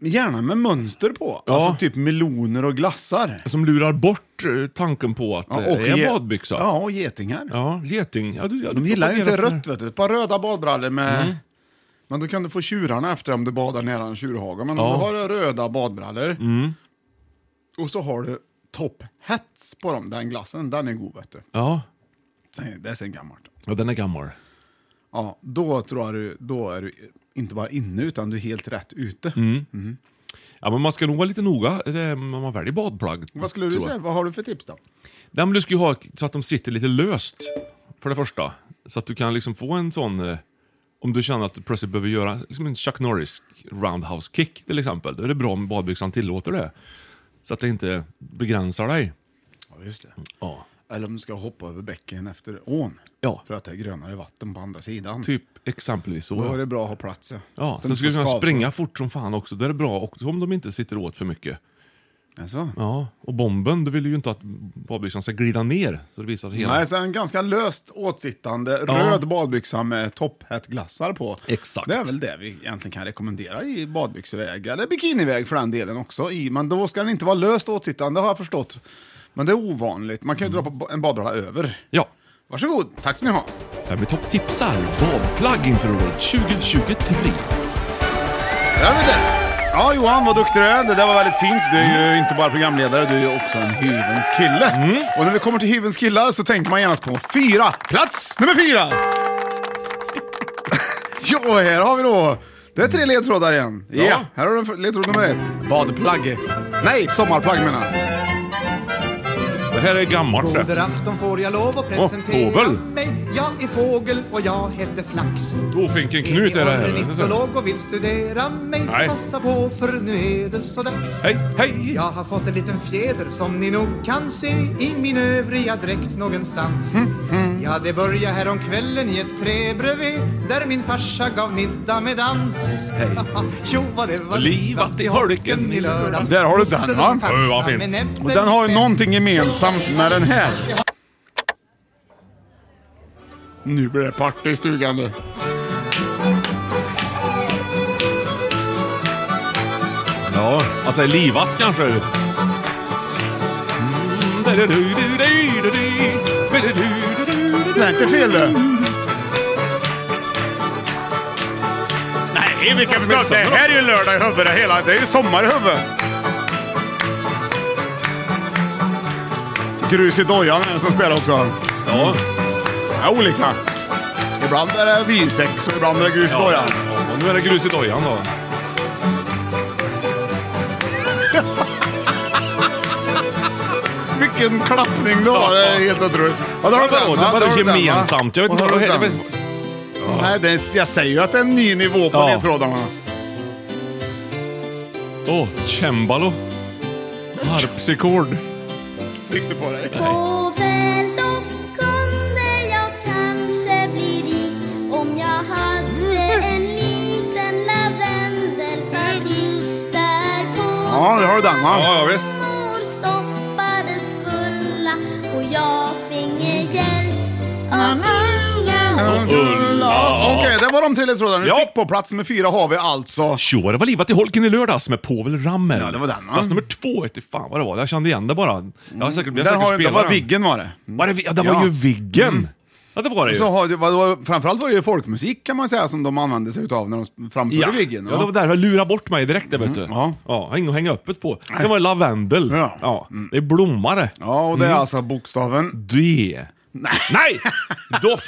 Speaker 1: Gärna med mönster på.
Speaker 2: Ja.
Speaker 1: Alltså typ meloner och glassar.
Speaker 2: Som lurar bort eh, tanken på att eh, det är
Speaker 1: ge-
Speaker 2: en badbyxa.
Speaker 1: Ja, och getingar.
Speaker 2: Ja, geting. Ja, du, ja,
Speaker 1: De
Speaker 2: du
Speaker 1: gillar ju inte
Speaker 2: propagerar för- Mm.
Speaker 1: rött, vet du. Ett par röda badbrallor med... Men då kan du få tjurarna efter om du badar nära en tjurhage. Men
Speaker 2: Ja. Mm.
Speaker 1: om du har röda badbrallor och så har du top hats på dem, den glassen, den är god vet du.
Speaker 2: Ja.
Speaker 1: Sen- Det är sen gammalt.
Speaker 2: ja, den är gammal.
Speaker 1: Ja, då tror jag du, då är du inte bara inne utan du är helt rätt ute.
Speaker 2: Mm, Ja, men man ska nog vara lite noga eh, när man väljer badplagg.
Speaker 1: Vad skulle du
Speaker 2: tror jag.
Speaker 1: säga? Vad har du för tips då?
Speaker 2: Nej, men du ska ju ha så att de sitter lite löst, för det första. Så att du kan liksom få en sån... eh, Om du känner att du plötsligt behöver göra liksom en Chuck Norris roundhouse kick till exempel, då är det bra om badbyxan tillåter det. Så att det inte begränsar dig.
Speaker 1: Ja, just det.
Speaker 2: Ja.
Speaker 1: Eller om du ska hoppa över bäcken efter ån.
Speaker 2: Ja.
Speaker 1: För att det är grönare vatten på andra sidan.
Speaker 2: Typ exempelvis så.
Speaker 1: Då är
Speaker 2: ja.
Speaker 1: det bra att ha plats. Ja,
Speaker 2: Ja,
Speaker 1: Så
Speaker 2: sen
Speaker 1: du
Speaker 2: skulle du
Speaker 1: får
Speaker 2: kunna
Speaker 1: skavsår.
Speaker 2: springa fort som fan också. Det är bra också om de inte sitter åt för mycket.
Speaker 1: Alltså.
Speaker 2: Ja, och bomben, du vill ju inte att badbyxan ska glida ner så det visar hela...
Speaker 1: Nej, så en ganska löst åtsittande
Speaker 2: Ja.
Speaker 1: röd badbyxa med topphattglassar på.
Speaker 2: Exakt.
Speaker 1: Det är väl det vi egentligen kan rekommendera i badbyxeväg, eller bikiniväg för den delen också. i- Men då ska den inte vara löst åtsittande har jag förstått. Men det är ovanligt. Man kan
Speaker 2: Mm.
Speaker 1: ju dra på en badbralla över.
Speaker 2: Ja.
Speaker 1: Varsågod, tack ska ni ha.
Speaker 2: Fem i topp tipsar badplagg inför året 2023.
Speaker 1: Där har vi det. Ja, Johan, vad duktig du är. Det där var väldigt fint. Du är ju inte bara programledare, du är ju också en hyvens kille. Och när vi kommer till hyvens killar så tänker man genast på fyra. Plats nummer fyra! (laughs) jo, och här har vi då... Det är tre ledtrådar igen. Ja, här har du för- ledtråd nummer ett. Badplagg. Nej, sommarplagg menar jag.
Speaker 2: Det här är gammalt
Speaker 5: Under
Speaker 2: det.
Speaker 5: afton får jag lov att presentera
Speaker 2: fågel.
Speaker 5: mig. Jag är fågel och jag heter Flax.
Speaker 2: Bofinken Knut är det
Speaker 5: Är ni
Speaker 2: här.
Speaker 5: ornitolog och vill studera mig så
Speaker 2: Nej.
Speaker 5: passa på för nu är det så dags.
Speaker 2: Hej, hej!
Speaker 5: Jag har fått en liten fjäder som ni nog kan se i min övriga dräkt någonstans.
Speaker 1: Hm,
Speaker 5: Ja, det började här om kvällen i ett träd bredvid där min farsa gav middag med dans.
Speaker 2: Hej.
Speaker 5: (laughs) jo, vad det var
Speaker 2: Livat i holken i lördags.
Speaker 1: Där har du den,
Speaker 5: Moster
Speaker 1: va?
Speaker 5: och farsa
Speaker 2: Oj, vad fin.
Speaker 5: med näbben
Speaker 1: Och den har ju
Speaker 5: spänd.
Speaker 1: någonting gemensamt med den här. Nu blir det party i stugan du.
Speaker 2: Ja, att det är livat kanske. Mm.
Speaker 1: Nej, inte fel du. Nej, vilka
Speaker 2: betalt. Det här
Speaker 1: är ju lördag i huvudet hela. Det är ju sommar i huvudet. Grus i dojan är det som spelar också.
Speaker 2: Ja.
Speaker 1: Ja, olika. Ibland är det vinsex och ibland är det grus i
Speaker 2: ja.
Speaker 1: dojan.
Speaker 2: Och nu är det grus i dojan då.
Speaker 1: Vilken klappning du har. Det är helt otroligt. Ja, där har du den,
Speaker 2: Ja,
Speaker 1: va?
Speaker 2: det var
Speaker 1: Där har du den, va?
Speaker 2: gemensamt. Jag vet
Speaker 1: Och
Speaker 2: inte
Speaker 1: där har
Speaker 2: vad-
Speaker 1: du den.
Speaker 2: jag
Speaker 1: Nej, det är, jag säger ju att det är en ny nivå på
Speaker 2: Ja.
Speaker 1: ledtrådarna.
Speaker 2: Åh, cembalo. Harpsikord.
Speaker 1: Fick du på dig?
Speaker 6: Fågeldoft kunde jag kanske bli rik om jag hade en liten lavendelfabrik där
Speaker 1: Ja, där har du den va?
Speaker 2: Ja, ja, visst.
Speaker 6: kåsor stoppades fulla och jag finge hjälp av Ulla och
Speaker 1: Ulla. Okej, det var de tre ledtrådarna.
Speaker 2: Ja.
Speaker 1: Ja. Fick på plats nummer fyra har vi alltså...
Speaker 2: Tjo, det var livat i holken i lördags med Povel Ramel.
Speaker 1: Ja, det var den, va?
Speaker 2: Plats nummer två, vet du fan vad det var. Jag kände igen det bara. Jag har säkert, jag har
Speaker 1: Där
Speaker 2: säkert
Speaker 1: har, det
Speaker 2: spelat
Speaker 1: var
Speaker 2: den.
Speaker 1: Viggen var det.
Speaker 2: Var det, vi- ja, det var
Speaker 1: Ja.
Speaker 2: ju Viggen! Ja, det var det ju.
Speaker 1: Så har, det var, framförallt var det ju folkmusik kan man säga som de använde sig utav när de framförde
Speaker 2: Ja.
Speaker 1: Viggen. Mm.
Speaker 2: ja, det var därför jag lurade bort mig direkt där vet du.
Speaker 1: ja.
Speaker 2: ja har inget att hänga öppet på. Sen var det lavendel.
Speaker 1: Ja. Mm.
Speaker 2: Det är blommare.
Speaker 1: Ja, och det är
Speaker 2: Mm.
Speaker 1: alltså bokstaven
Speaker 2: D. Nej. Nej! Doft.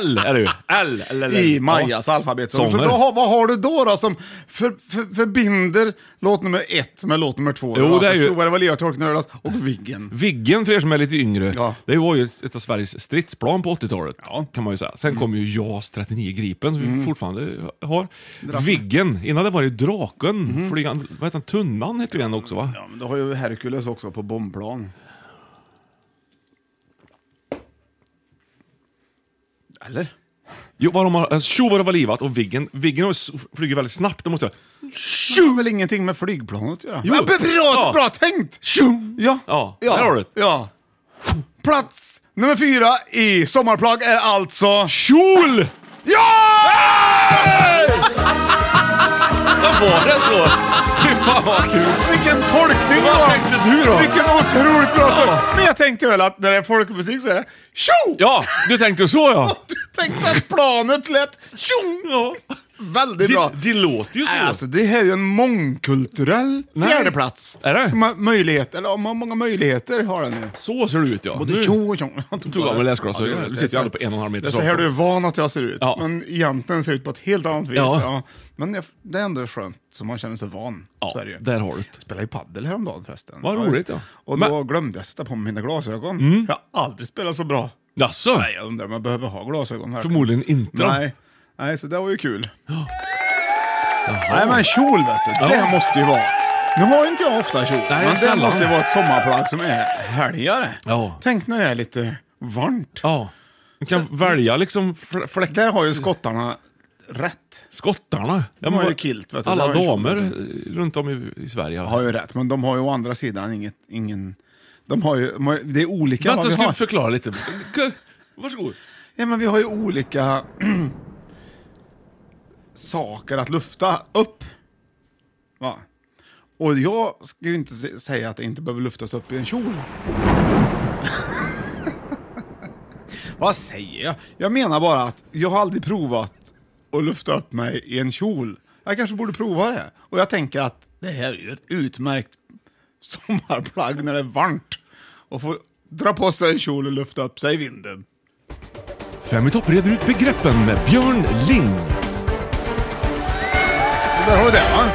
Speaker 2: L är det ju. L. L, L, L.
Speaker 1: i Majas
Speaker 2: ja.
Speaker 1: alfabet. Så
Speaker 2: Sånger.
Speaker 1: då, har- vad har du då då som för, för, förbinder låt nummer ett med låt nummer två?
Speaker 2: Jo,
Speaker 1: då,
Speaker 2: det är
Speaker 1: alltså,
Speaker 2: ju-
Speaker 1: Stora Vallea, Torknölas och Viggen.
Speaker 2: Viggen, för er som är lite yngre,
Speaker 1: Ja.
Speaker 2: det var ju ett av Sveriges stridsplan på 80-talet.
Speaker 1: Ja. Mm.
Speaker 2: Kan man ju säga. Sen kom ju JAS 39 Gripen, som vi fortfarande eh, har. Viggen, innan det var det Draken.
Speaker 1: Mm.
Speaker 2: Flygande, vad heter han? Tunnan hette ju en också va?
Speaker 1: Ja, men du har ju Hercules också på bombplan. Eller?
Speaker 2: Jo, vad de har, tjo vad det var livat och Viggen, Viggen har ju s- flyger väldigt snabbt. De måste,
Speaker 1: Det har väl ingenting med flygplan att göra?
Speaker 2: Jo.
Speaker 1: Ja, bra,
Speaker 2: Ja.
Speaker 1: bra tänkt! Ja.
Speaker 2: Ja, där har du det.
Speaker 1: Ja. Plats nummer fyra i Sommarplag är alltså...
Speaker 2: Kjol!
Speaker 1: Ja!
Speaker 2: Vad var det så? Fy fan vad kul!
Speaker 1: Vilken tolkning det
Speaker 2: Vad
Speaker 1: var!
Speaker 2: tänkte du då?
Speaker 1: Vilken otroligt bra
Speaker 2: Ja.
Speaker 1: tolkning! Men jag tänkte väl att när det är folkmusik så är det tjo!
Speaker 2: Ja, du tänkte så ja.
Speaker 1: Du tänkte att planet lät tjong!
Speaker 2: ja.
Speaker 1: Väldigt bra.
Speaker 2: Det, det låter ju så.
Speaker 1: Nej, Alltså, det här är ju en mångkulturell
Speaker 2: Nej.
Speaker 1: fjärdeplats.
Speaker 2: Är det?
Speaker 1: Ma- möjlighet, eller ja, må- många möjligheter har den nu.
Speaker 2: så ser det ut ja.
Speaker 1: Både
Speaker 2: Nu-
Speaker 1: tjo och tjong. Jag
Speaker 2: tog av mig
Speaker 1: Ja,
Speaker 2: läsglasögonen.
Speaker 1: det är
Speaker 2: Du sitter ju ändå på en och en halv meter
Speaker 1: Det är så här
Speaker 2: avstånd.
Speaker 1: du är van att jag ser ut,
Speaker 2: Ja.
Speaker 1: men egentligen ser jag ut på ett helt annat vis.
Speaker 2: Ja.
Speaker 1: Ja. Men jag, det är ändå skönt, så man känner sig van. så är det ju.
Speaker 2: där har du det.
Speaker 1: Jag spelade ju padel häromdagen förresten.
Speaker 2: Vad
Speaker 1: just.
Speaker 2: roligt, ja.
Speaker 1: Och
Speaker 2: Men- Mm.
Speaker 1: då glömde jag sätta på mig mina glasögon. Jag har aldrig spelat så bra.
Speaker 2: Jaså?
Speaker 1: Nej, jag undrar om jag behöver ha glasögon här.
Speaker 2: Förmodligen inte då.
Speaker 1: Nej. Nej, så det var ju kul. Nej, men kjol vet du. Det
Speaker 2: Ja.
Speaker 1: här måste ju vara... Nu har ju inte jag ofta kjol, men det
Speaker 2: sällan.
Speaker 1: måste ju vara ett sommarplagg som är helgare.
Speaker 2: Ja.
Speaker 1: Tänk när det är lite varmt.
Speaker 2: Ja. Man kan välja liksom fl- fläkt...
Speaker 1: Där har ju skottarna rätt.
Speaker 2: Skottarna. Ja,
Speaker 1: har
Speaker 2: men-
Speaker 1: ju kilt, vet du.
Speaker 2: Alla
Speaker 1: De har ju
Speaker 2: damer eh, runt om i, i Sverige.
Speaker 1: Har ju rätt, men de har ju å andra sidan inget, ingen... De har ju, de har ju- det är olika
Speaker 2: Vänta,
Speaker 1: vad vi
Speaker 2: ska
Speaker 1: har.
Speaker 2: jag förklara lite. K- Varsågod.
Speaker 1: Ja, men vi har ju olika (clears throat) saker att lufta upp. Va? Och jag ska ju inte se- säga att det inte behöver luftas upp i en kjol. (laughs) Vad säger jag? Jag menar bara att jag har aldrig provat att lufta upp mig i en kjol. Jag kanske borde prova det. Och jag tänker att det här är ju ett utmärkt sommarplagg när det är varmt. Och få dra på sig en kjol och lufta upp sig i vinden.
Speaker 2: Fem i topp reder ut begreppen med Björn Ling.
Speaker 1: Så där har du det va?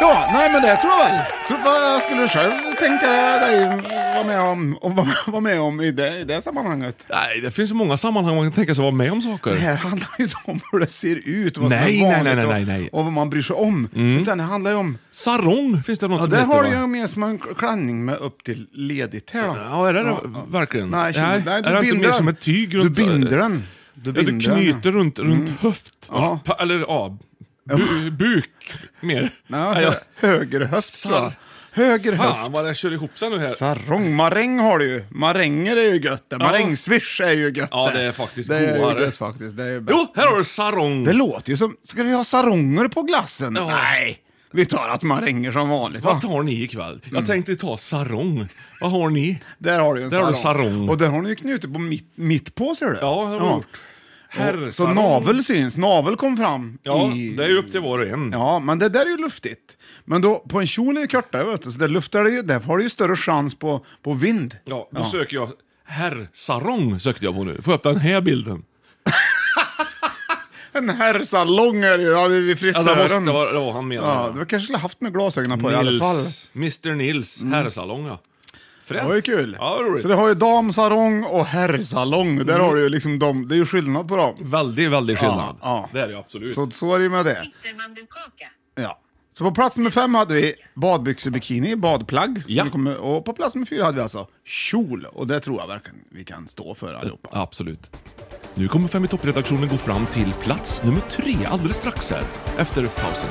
Speaker 1: Ja, nej men det tror jag väl. Tror, vad skulle du själv tänka dig vara med om, och vara vara med om i, det, i det sammanhanget?
Speaker 2: Nej, det finns så många sammanhang man kan tänka sig vara med om saker.
Speaker 1: Det här handlar ju inte om hur det ser ut och vad som
Speaker 2: Nej,
Speaker 1: är
Speaker 2: nej, nej,
Speaker 1: vanligt
Speaker 2: nej, nej.
Speaker 1: Och, och vad man bryr sig om. Utan det handlar ju om...
Speaker 2: Sarong finns det något
Speaker 1: Ja,
Speaker 2: som
Speaker 1: där
Speaker 2: heter,
Speaker 1: har
Speaker 2: va?
Speaker 1: du ju mer som en klänning med upp till ledigt här då.
Speaker 2: Ja, är det det verkligen?
Speaker 1: Nej, kjol-
Speaker 2: Nej,
Speaker 1: nej,
Speaker 2: är det inte
Speaker 1: du binder
Speaker 2: mer
Speaker 1: den.
Speaker 2: som ett tyg
Speaker 1: Du
Speaker 2: runt-
Speaker 1: binder den. Du,
Speaker 2: Ja, du
Speaker 1: binder den, Mm.
Speaker 2: knyter runt, runt höft.
Speaker 1: Ja.
Speaker 2: Pa- Eller ja, bu, buk mer.
Speaker 1: Ja,
Speaker 2: Nej, jag-
Speaker 1: hö- högerhöft tror jag.
Speaker 2: Sar-
Speaker 1: Högerhöft.
Speaker 2: Fan vad det kör ihop sig nu här.
Speaker 1: Sarong, maräng har du ju. Maränger är ju gött det. Marängsviss är ju gött
Speaker 2: Ja, det är faktiskt
Speaker 1: Det är
Speaker 2: godare.
Speaker 1: ju gött faktiskt. Det, är ju bäst.
Speaker 2: Jo, här har du sarong.
Speaker 1: det låter ju som... Ska vi ha saronger på glassen?
Speaker 2: Ja.
Speaker 1: Nej! Vi tar att maränger som vanligt va?
Speaker 2: Vad tar ni ikväll?
Speaker 1: Mm.
Speaker 2: Jag tänkte ta sarong. Vad har ni?
Speaker 1: Där har du ju en
Speaker 2: Där har du sarong.
Speaker 1: Och där har ni ju knutit på mitt, mitt på ser du.
Speaker 2: Ja, det har vi gjort.
Speaker 1: Herr, så
Speaker 2: Herrsarong.
Speaker 1: navel syns. Navel kom fram.
Speaker 2: Ja,
Speaker 1: i...
Speaker 2: det är ju upp till var och en.
Speaker 1: Ja, men det där är ju luftigt. Men då, på en kjol är det kortare vet du, så där luftar det ju. Där har du ju större chans på, på vind.
Speaker 2: Ja, då söker jag... Herrsarong sökte jag på nu. Får jag upp den här bilden?
Speaker 1: En herrsalong är det ju. Ja, det är vid
Speaker 2: Ja,
Speaker 1: frisören.
Speaker 2: det måste vara det var han menade.
Speaker 1: Ja, du kanske skulle haft med glasögonen på dig i alla
Speaker 2: Nils,
Speaker 1: fall. Mm.
Speaker 2: Mr Nils, herrsalong ja.
Speaker 1: Det
Speaker 2: Fränt.
Speaker 1: var ju kul.
Speaker 2: Ja, det var roligt. Mm.
Speaker 1: Så det har ju damsalong och herrsalong. Där har du ju liksom de, det är ju skillnad på dem.
Speaker 2: Väldigt, väldigt skillnad.
Speaker 1: Ja, ja.
Speaker 2: Det är det ju absolut.
Speaker 1: Så, så är det ju med det.
Speaker 3: Inte mandelkaka.
Speaker 1: Ja. Så på plats nummer fem hade vi badbyxor, bikini, badplagg.
Speaker 2: Ja.
Speaker 1: Det kommer- Och på plats nummer fyra hade vi alltså kjol. Och det tror jag verkligen vi kan stå för allihopa.
Speaker 2: Absolut. Nu kommer Fem i topp-redaktionen gå fram till plats nummer tre alldeles strax här, efter pausen.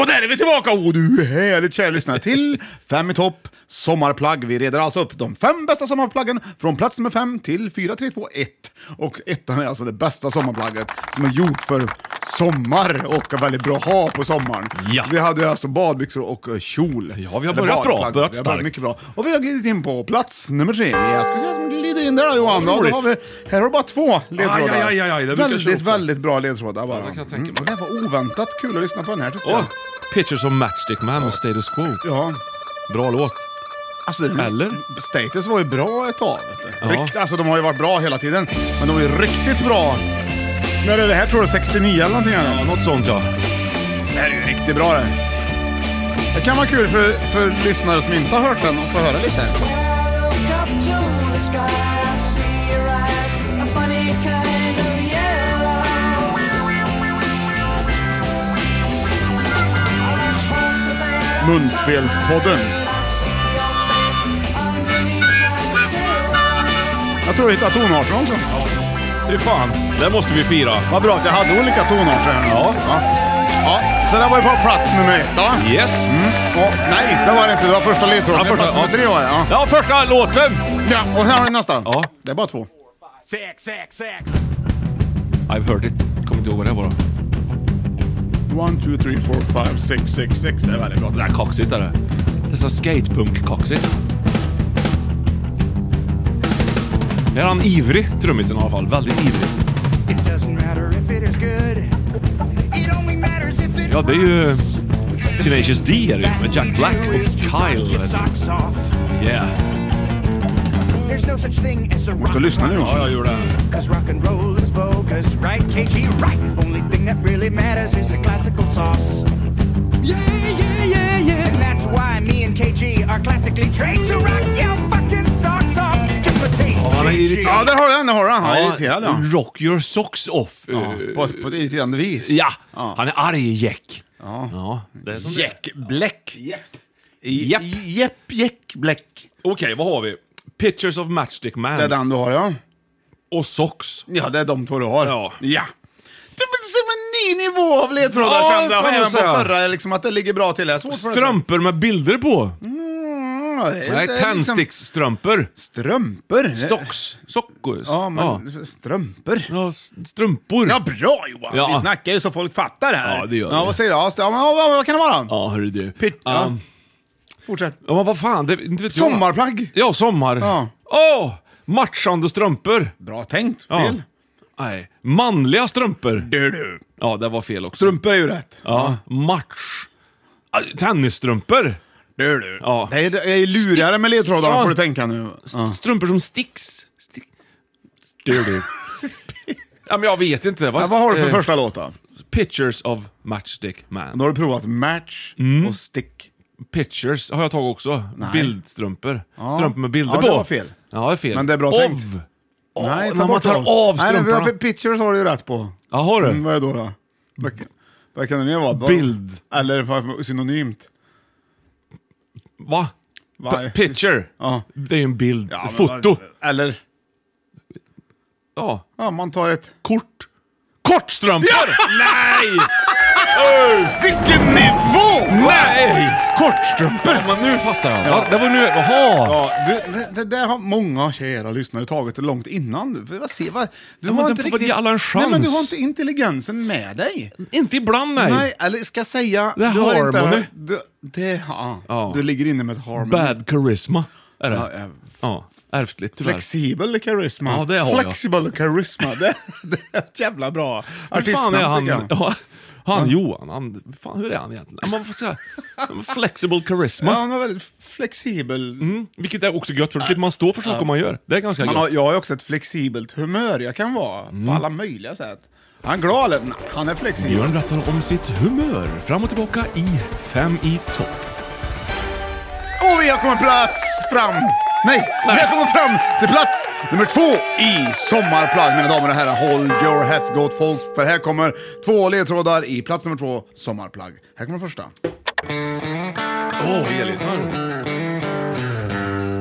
Speaker 1: Och där är vi tillbaka! Och du härligt kära lyssnare till Fem i topp sommarplagg. Vi reder alltså upp de fem bästa sommarplaggen från plats nummer fem till fyra, tre, två, ett. Och ettan är alltså det bästa sommarplagget som är gjort för sommar och är väldigt bra att ha på sommaren.
Speaker 2: Ja.
Speaker 1: Vi hade alltså badbyxor och eh, kjol. Ja,
Speaker 2: vi har börjat bra, börjat
Speaker 1: vi har
Speaker 2: starkt.
Speaker 1: börjat mycket bra. Och vi har glidit in på plats nummer tre. Jag ska se vad som glider in där då, Johan. Då
Speaker 2: Roligt.
Speaker 1: har vi, här har du bara två ledtrådar.
Speaker 2: Aj, aj, aj, aj, det brukar jag köra
Speaker 1: väldigt,
Speaker 2: också.
Speaker 1: väldigt bra ledtrådar bara.
Speaker 2: Ja, det kan jag tänka mig.
Speaker 1: Mm, det här var oväntat kul att lyssna på den här tyckte
Speaker 2: Åh,
Speaker 1: jag.
Speaker 2: Pictures of Matchstick Man och Status Quo.
Speaker 1: Ja.
Speaker 2: Bra låt.
Speaker 1: Alltså, den-
Speaker 2: Eller?
Speaker 1: Status var ju bra ett tag. Vet du.
Speaker 2: Ja.
Speaker 1: Rikt, alltså, de har ju varit bra hela tiden, men de är ju riktigt bra. När är det här tror du? 69 eller någonting? Eller?
Speaker 2: Ja, något sånt ja.
Speaker 1: Det här är ju riktigt bra det. Det kan vara kul för, för lyssnare som inte har hört den att få höra lite.
Speaker 4: Up to the sky, I see your eyes, a funny kind of yellow. I was home to bed,
Speaker 1: Munspelspodden.
Speaker 4: I see your face underneath my pillow.
Speaker 1: Jag tror jag hittade tonarterna också.
Speaker 2: Fy fan, det måste vi fira.
Speaker 1: Vad bra att jag hade olika tonarter här nu.
Speaker 2: Ja.
Speaker 1: Va? ja. Så det var ju på plats nummer ett då.
Speaker 2: Yes!
Speaker 1: Ja, nej, det var det inte. Mm. Det var första
Speaker 2: Ja,
Speaker 1: ledtråden.
Speaker 2: första,
Speaker 1: plats nummer
Speaker 2: ja.
Speaker 1: tre var det. Ja.
Speaker 2: Ja, första låten!
Speaker 1: ja, och här har ni nästa.
Speaker 2: Ja.
Speaker 1: Det är bara två.
Speaker 2: I've heard it. Kommer inte ihåg vad det var.
Speaker 1: One, two, three, four, five, six, six, six. Det är väldigt bra.
Speaker 2: Det där är kaxigt är det. Nästan skatepunk-kaxigt. Nu är han ivrig, trummisen i alla fall. Väldigt ivrig.
Speaker 7: It doesn't matter if it is good. It only matters if it
Speaker 2: Ja, det är ju Tenacious D är det ju, med Jack Black och Kyle.
Speaker 7: Your socks off.
Speaker 2: Yeah.
Speaker 7: There's no such thing as a
Speaker 1: Måste lyssna nu.
Speaker 2: Ja, jag gör det.
Speaker 7: Cause rock and roll is bogus, right? KG, right? Only thing that really matters is a classical sauce. Yeah, yeah, yeah, yeah. And that's why me and KG are classically trained to rock your fucking socks off. Cause the taste
Speaker 2: Ja, han är
Speaker 7: is
Speaker 2: irriterad.
Speaker 1: Ja, där har du den. Där har du den. Han är irriterad ja.
Speaker 2: Rock your socks off. eh,
Speaker 1: Ja, På, på ett irriterande vis.
Speaker 2: ja.
Speaker 1: Ja.
Speaker 2: han är arg Jack. Ja. det är som det är.
Speaker 1: Jack Black.
Speaker 2: Japp.
Speaker 1: Jepp, Jack Black.
Speaker 2: Okej, vad har vi? Pictures of Matchstick Man
Speaker 1: Det är den du har ja.
Speaker 2: och Socks.
Speaker 1: Ja, det är de två du har.
Speaker 2: Ja.
Speaker 1: ja. Det är som en ny nivå av ledtrådar
Speaker 2: Ja,
Speaker 1: kände
Speaker 2: kan
Speaker 1: jag.
Speaker 2: man
Speaker 1: Även på
Speaker 2: säga.
Speaker 1: förra, liksom, att det ligger bra till. Det är svårt för det.
Speaker 2: Strumpor med bilder på.
Speaker 1: Mm, det är-
Speaker 2: Nej,
Speaker 1: det är liksom-
Speaker 2: tändsticksstrumpor.
Speaker 1: Strumpor?
Speaker 2: Stocks. Sockos.
Speaker 1: Ja, men strumpor.
Speaker 2: Ja, s- strumpor.
Speaker 1: Ja, bra Johan!
Speaker 2: Ja.
Speaker 1: Vi snackar ju så folk fattar här.
Speaker 2: Ja, det gör
Speaker 1: ja,
Speaker 2: vi.
Speaker 1: vad säger du? Ja, st- ja, men, ja, vad, vad kan det vara?
Speaker 2: Ja, hörru du.
Speaker 1: Pytt- ja.
Speaker 2: Um,
Speaker 1: Fortsätt.
Speaker 2: ja, men vad fan. Det, inte vet jag.
Speaker 1: Sommarplagg!
Speaker 2: Ja, sommar.
Speaker 1: Ja.
Speaker 2: Åh! matchande strumpor.
Speaker 1: Bra tänkt.
Speaker 2: Ja.
Speaker 1: Fel.
Speaker 2: Nej. Manliga strumpor.
Speaker 1: Du, du.
Speaker 2: Ja, det var fel också.
Speaker 1: Strumpor är ju rätt.
Speaker 2: Ja, match. Ah, Tennisstrumpor.
Speaker 1: Du, du.
Speaker 2: Ja.
Speaker 1: Det är, det är lurigare med ledtrådarna
Speaker 2: Ja.
Speaker 1: får du tänka nu. Ja.
Speaker 2: Strumpor som sticks. Stick. Du, du. (laughs) ja, men jag vet inte.
Speaker 1: Ja, vad har du för
Speaker 2: eh,
Speaker 1: första låt då?
Speaker 2: Pictures of Matchstick Man.
Speaker 1: Då har du provat match och stick.
Speaker 2: Pictures har jag tagit också. Bildstrumpor. Strumpor med bilder
Speaker 1: Ja,
Speaker 2: på.
Speaker 1: det var fel.
Speaker 2: Ja, det är fel.
Speaker 1: Men det är bra
Speaker 2: Av.
Speaker 1: tänkt.
Speaker 2: Av. när man tar
Speaker 1: dem.
Speaker 2: av
Speaker 1: Nej,
Speaker 2: strumporna.
Speaker 1: vi har- pictures har du ju rätt på.
Speaker 2: Ja, har du?
Speaker 1: Mm, vad är det då? då? Vad, vad kan det mer vara? Vad-
Speaker 2: Bild.
Speaker 1: Eller vad- synonymt.
Speaker 2: Va?
Speaker 1: Va?
Speaker 2: P- picture.
Speaker 1: Ja.
Speaker 2: Det är ju en bild.
Speaker 1: Ja, men
Speaker 2: Foto.
Speaker 1: vad- Eller?
Speaker 2: Ja.
Speaker 1: Ja, man tar ett...
Speaker 2: Kort. Kortstrumpor! Nej! Öh,
Speaker 1: Vilken Skjortstrumpor!
Speaker 2: Men nu fattar jag. Ja. Det var nu... Jaha!
Speaker 1: Ja, du, det, det där har många kära lyssnare tagit långt innan. För Vad se, vad, du
Speaker 2: Ja, men
Speaker 1: har
Speaker 2: de
Speaker 1: inte
Speaker 2: får väl ge alla en
Speaker 1: Nej, men du
Speaker 2: chans.
Speaker 1: har inte intelligensen med dig.
Speaker 2: Inte ibland, nej.
Speaker 1: Nej, eller ska jag säga...
Speaker 2: Det är
Speaker 1: du har
Speaker 2: harmony.
Speaker 1: inte, du, det, ja,
Speaker 2: Ja.
Speaker 1: du ligger inne med ett harmony.
Speaker 2: Bad charisma är
Speaker 1: Ja,
Speaker 2: det.
Speaker 1: eh,
Speaker 2: Ja, ärftligt tyvärr.
Speaker 1: Flexibel charisma.
Speaker 2: Ja, det har jag.
Speaker 1: Flexible charisma. Det, (laughs) det är ett jävla bra
Speaker 2: Hur fan
Speaker 1: artistnamn.
Speaker 2: är han?
Speaker 1: tycker jag.
Speaker 2: Ja, han Johan, han, fan, hur är han egentligen? Ja, Man får
Speaker 1: (laughs)
Speaker 2: säga, flexible charisma.
Speaker 1: Ja, han har väldigt flexibel...
Speaker 2: Mm, vilket är också gött, för då slipper man stå för saker man gör. Det är ganska
Speaker 1: Man
Speaker 2: gött. Mm.
Speaker 1: har, jag har ju också ett flexibelt humör. Jag kan vara på alla möjliga sätt. Han är glad eller? Nej, han är flexibel.
Speaker 2: Björn berättar om sitt humör fram och tillbaka i Fem i topp.
Speaker 1: Och vi har kommit plats fram. Nej, vi har kommit fram till plats nummer två i Sommarplagg. Mina damer och herrar, hold your hats gott folk. För här kommer två ledtrådar i plats nummer två, Sommarplagg. Här kommer den första.
Speaker 2: Åh, oh, elgitarr.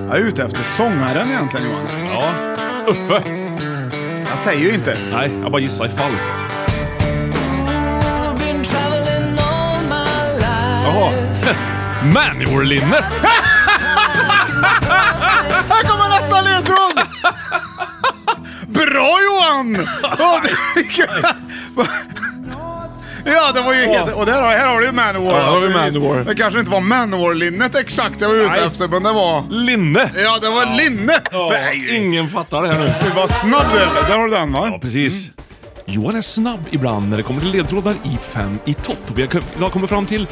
Speaker 1: Jag är ute efter sångaren egentligen Johan.
Speaker 2: Ja. Uffe.
Speaker 1: Jag säger ju inte.
Speaker 2: Nej, jag bara gissar ifall. Jaha. (laughs) Manowar-linnet!
Speaker 1: Här kommer nästa ledtråd! (laughs) Bra Johan! Ja, det- (laughs) Ja, det var ju helt... Och där har, här har du ju Manowar.
Speaker 2: Ja, här har vi Manowar.
Speaker 1: Det kanske inte var Manowar-linnet exakt jag var ute
Speaker 2: Nice.
Speaker 1: efter, men det var...
Speaker 2: (laughs) Linne!
Speaker 1: Ja, det var linne!
Speaker 2: Ja,
Speaker 1: Nej,
Speaker 2: ingen fattar det här nu.
Speaker 1: Gud vad snabb du är. Där har du den
Speaker 2: Ja,
Speaker 1: va?
Speaker 2: precis. Johan är snabb ibland när det kommer till ledtrådar i Fem i topp. Vi har k- vi har kommit fram till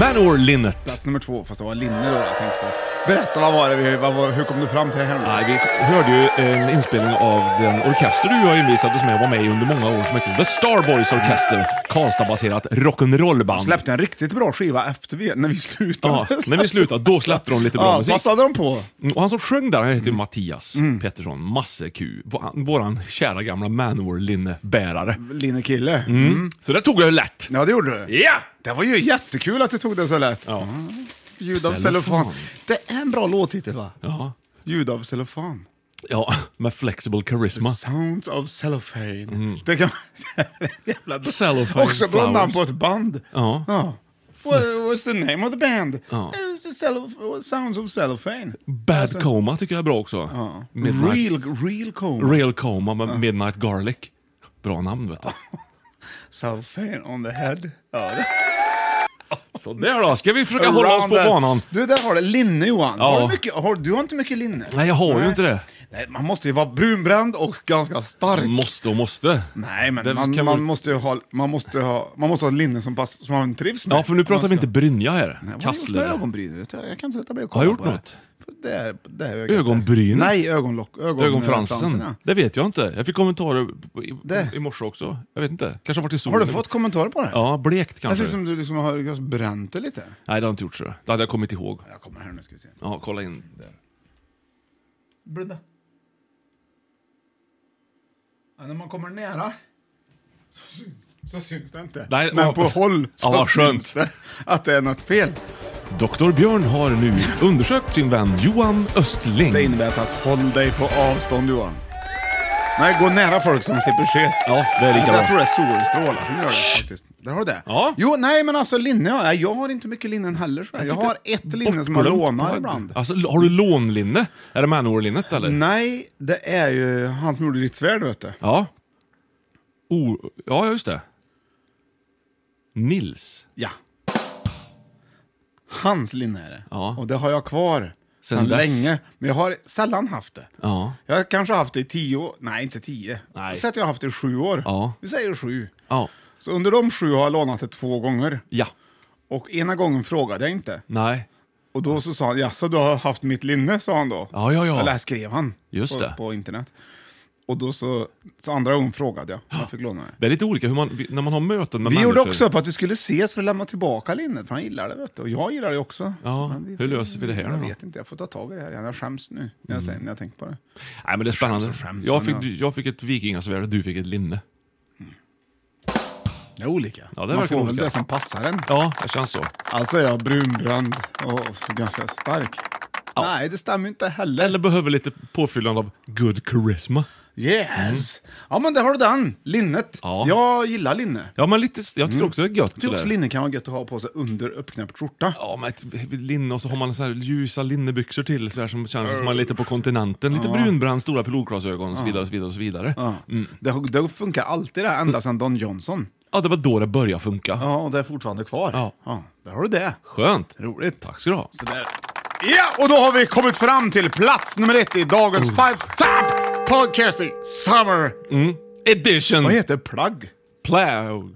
Speaker 2: Manowar-linnet.
Speaker 1: Plats nummer två, fast det var linne då jag tänkte på. Berätta, vad var det vi, vad, var- hur kom du fram till det här nu?
Speaker 2: Nej, vi hörde ju en inspelning av den orkester du och jag envisades med att vara med i under många år som heter The Starboys Orkester. Karlstad-baserat rock'n'roll-band.
Speaker 1: Mm. Släppte en riktigt bra skiva efter vi, när vi slutade.
Speaker 2: Ja, när vi
Speaker 1: (laughs)
Speaker 2: slutade, då släppte de lite bra
Speaker 1: Ja,
Speaker 2: musik.
Speaker 1: vad Mm. hade de på?
Speaker 2: Mm, Och han som sjöng där, han heter ju Mattias Pettersson, Masse-Q. Vå- Våran kära gamla Manowar-linnebärare.
Speaker 1: Linnekille.
Speaker 2: Mm. Så det tog jag ju lätt.
Speaker 1: Ja, det gjorde du.
Speaker 2: Ja!
Speaker 1: Det var ju jättekul att du tog det så lätt.
Speaker 2: Ja.
Speaker 1: Ljud av
Speaker 2: Cellofan.
Speaker 1: cellofan. Det är en bra låttitel va?
Speaker 2: Ja.
Speaker 1: Ljud av cellofan.
Speaker 2: Ja, med flexible charisma.
Speaker 1: Sounds of cellophane. (laughs) Det kan jävla bra.
Speaker 2: Mhm. Cellophane
Speaker 1: Också bra
Speaker 2: flowers.
Speaker 1: namn på ett band.
Speaker 2: Ja.
Speaker 1: What, what's the name of the band?
Speaker 2: Ja.
Speaker 1: It's the cellof- sounds of cellophane.
Speaker 2: Bad
Speaker 1: alltså-
Speaker 2: Coma tycker jag är bra också. Midnight.
Speaker 1: Real, real cone.
Speaker 2: Real Coma med Midnight Garlic. Bra namn vet du.
Speaker 1: Cellophane on the head. Ja, det.
Speaker 2: Så där då, ska vi försöka hålla oss på
Speaker 1: Around the-
Speaker 2: banan.
Speaker 1: Du, där har du linne Johan.
Speaker 2: Ja.
Speaker 1: Har du, mycket, har, du har inte mycket linne.
Speaker 2: Nej, jag har ju inte det.
Speaker 1: Nej, man måste ju vara brunbränd och ganska stark.
Speaker 2: Måste och måste.
Speaker 1: Nej, men
Speaker 2: Det
Speaker 1: man,
Speaker 2: kan
Speaker 1: man,
Speaker 2: väl-
Speaker 1: måste ju ha, man, måste ha, man måste ha ett linne som, pass, som man trivs med.
Speaker 2: Ja, för nu pratar vi inte brynja här.
Speaker 1: Vad har jag gjort med
Speaker 2: Kassler.
Speaker 1: ögonbrynen? Jag tror- Jag kan inte låta bli
Speaker 2: Har
Speaker 1: att kolla
Speaker 2: jag gjort
Speaker 1: på det.
Speaker 2: något?
Speaker 1: Det här, det här ögat där.
Speaker 2: Ögonbrynet?
Speaker 1: Nej, ögonlock. Ögon,
Speaker 2: Ögonfransen?
Speaker 1: fransen, ja.
Speaker 2: Det vet jag inte. Jag fick kommentarer i,
Speaker 1: Där.
Speaker 2: i morse också. Jag vet inte. Kanske har varit i solen.
Speaker 1: Har du fått kommentarer på det?
Speaker 2: Ja, blekt
Speaker 1: Det
Speaker 2: kanske.
Speaker 1: ser ut som du liksom har liksom bränt det lite.
Speaker 2: Nej, det har jag inte gjort. Så. Det hade jag kommit ihåg.
Speaker 1: Jag kommer här nu ska vi se.
Speaker 2: Ja, kolla in. där.
Speaker 1: Blunda. Ja, när man kommer nära så syns, så syns det inte.
Speaker 2: Nej,
Speaker 1: men
Speaker 2: ja.
Speaker 1: på håll så
Speaker 2: Ja, vad skönt.
Speaker 1: syns det att det är något fel.
Speaker 2: Doktor Björn har nu undersökt sin vän Johan Östling.
Speaker 1: Det innebär så att håll dig på avstånd Johan. Nej, gå nära folk som slipper se.
Speaker 2: Ja, det är lika bra.
Speaker 1: Jag tror det är solstrålar som gör det faktiskt. Där har du det.
Speaker 2: Ja.
Speaker 1: Jo, nej men alltså linne, ja, jag har inte mycket linnen heller. Så jag, jag har ett linne som jag
Speaker 2: Bortglömt.
Speaker 1: lånar ibland.
Speaker 2: Alltså, har du lånlinne? Är det Manowar-linnet eller?
Speaker 1: Nej, det är ju han som gjorde ditt svärd vet du.
Speaker 2: Ja. O- ja, just det. Nils.
Speaker 1: Ja. Hans linne är det.
Speaker 2: Ja.
Speaker 1: Och det har jag kvar
Speaker 2: Sen
Speaker 1: sedan
Speaker 2: dess.
Speaker 1: länge. Men jag har sällan haft det.
Speaker 2: Ja.
Speaker 1: Jag har kanske haft det i tio år. Nej, inte tio.
Speaker 2: Nej.
Speaker 1: Jag säger att jag har haft det i sju år.
Speaker 2: Ja.
Speaker 1: Vi säger sju.
Speaker 2: Ja.
Speaker 1: Så under de sju har jag lånat det två gånger.
Speaker 2: Ja.
Speaker 1: Och ena gången frågade jag inte.
Speaker 2: Nej.
Speaker 1: Och då så sa han, jaså du har haft mitt linne, sa han då.
Speaker 2: Ja, ja, ja.
Speaker 1: Eller här skrev han
Speaker 2: Just
Speaker 1: på,
Speaker 2: det.
Speaker 1: på internet. Och då så, så andra gången frågade jag, om jag fick låna det.
Speaker 2: Det är lite olika hur man, när man har möten med
Speaker 1: Vi
Speaker 2: människor.
Speaker 1: gjorde också upp att du skulle ses för att lämna tillbaka linnet, för han gillar det vet du. Och jag gillar det också.
Speaker 2: Ja,
Speaker 1: Men vi-
Speaker 2: hur löser vi det här
Speaker 1: Jag
Speaker 2: nu då? Mm.
Speaker 1: vet inte, jag får ta tag i det här igen. Jag skäms nu när jag, säger, när jag tänker på det.
Speaker 2: Nej, men det är spännande.
Speaker 1: Skäms och skäms,
Speaker 2: jag,
Speaker 1: men
Speaker 2: fick, jag fick ett vikingasvärd och du fick ett linne.
Speaker 1: Det är olika.
Speaker 2: Ja, det
Speaker 1: Man
Speaker 2: verkar
Speaker 1: får väl
Speaker 2: olika.
Speaker 1: det som passar en.
Speaker 2: Ja, det känns så.
Speaker 1: Alltså är jag brunbränd och ganska stark. Nej, det stämmer ju inte heller.
Speaker 2: Eller behöver lite påfyllande av good charisma.
Speaker 1: Yes!
Speaker 2: Mm.
Speaker 1: Ja, men det har du den. Linnet. Jag gillar linne.
Speaker 2: Ja, men lite, jag tycker också det är gött.
Speaker 1: Typ
Speaker 2: sådär.
Speaker 1: linne kan vara gött att ha på sig under uppknäppt skjorta.
Speaker 2: Ja, men ett linne och så har man så här ljusa linnebyxor till så här, som känns som man är lite på kontinenten. Lite
Speaker 1: Ja.
Speaker 2: brunbränd, stora pilotglasögon och så
Speaker 1: Ja.
Speaker 2: vidare. Och så vidare, och så vidare.
Speaker 1: Ja. Mm. Det, har- det funkar alltid det, här, ända sedan Don Johnson.
Speaker 2: Ja, det var då det började funka.
Speaker 1: Ja, och det är fortfarande kvar.
Speaker 2: Ja.
Speaker 1: Där har du det.
Speaker 2: Skönt.
Speaker 1: Roligt.
Speaker 2: Tack ska du ha.
Speaker 1: Sådär. Ja, och då har vi kommit fram till plats nummer ett i dagens Five Top Podcasting Summer.
Speaker 2: Mm. Edition!
Speaker 1: Vad heter plagg?
Speaker 2: Plow.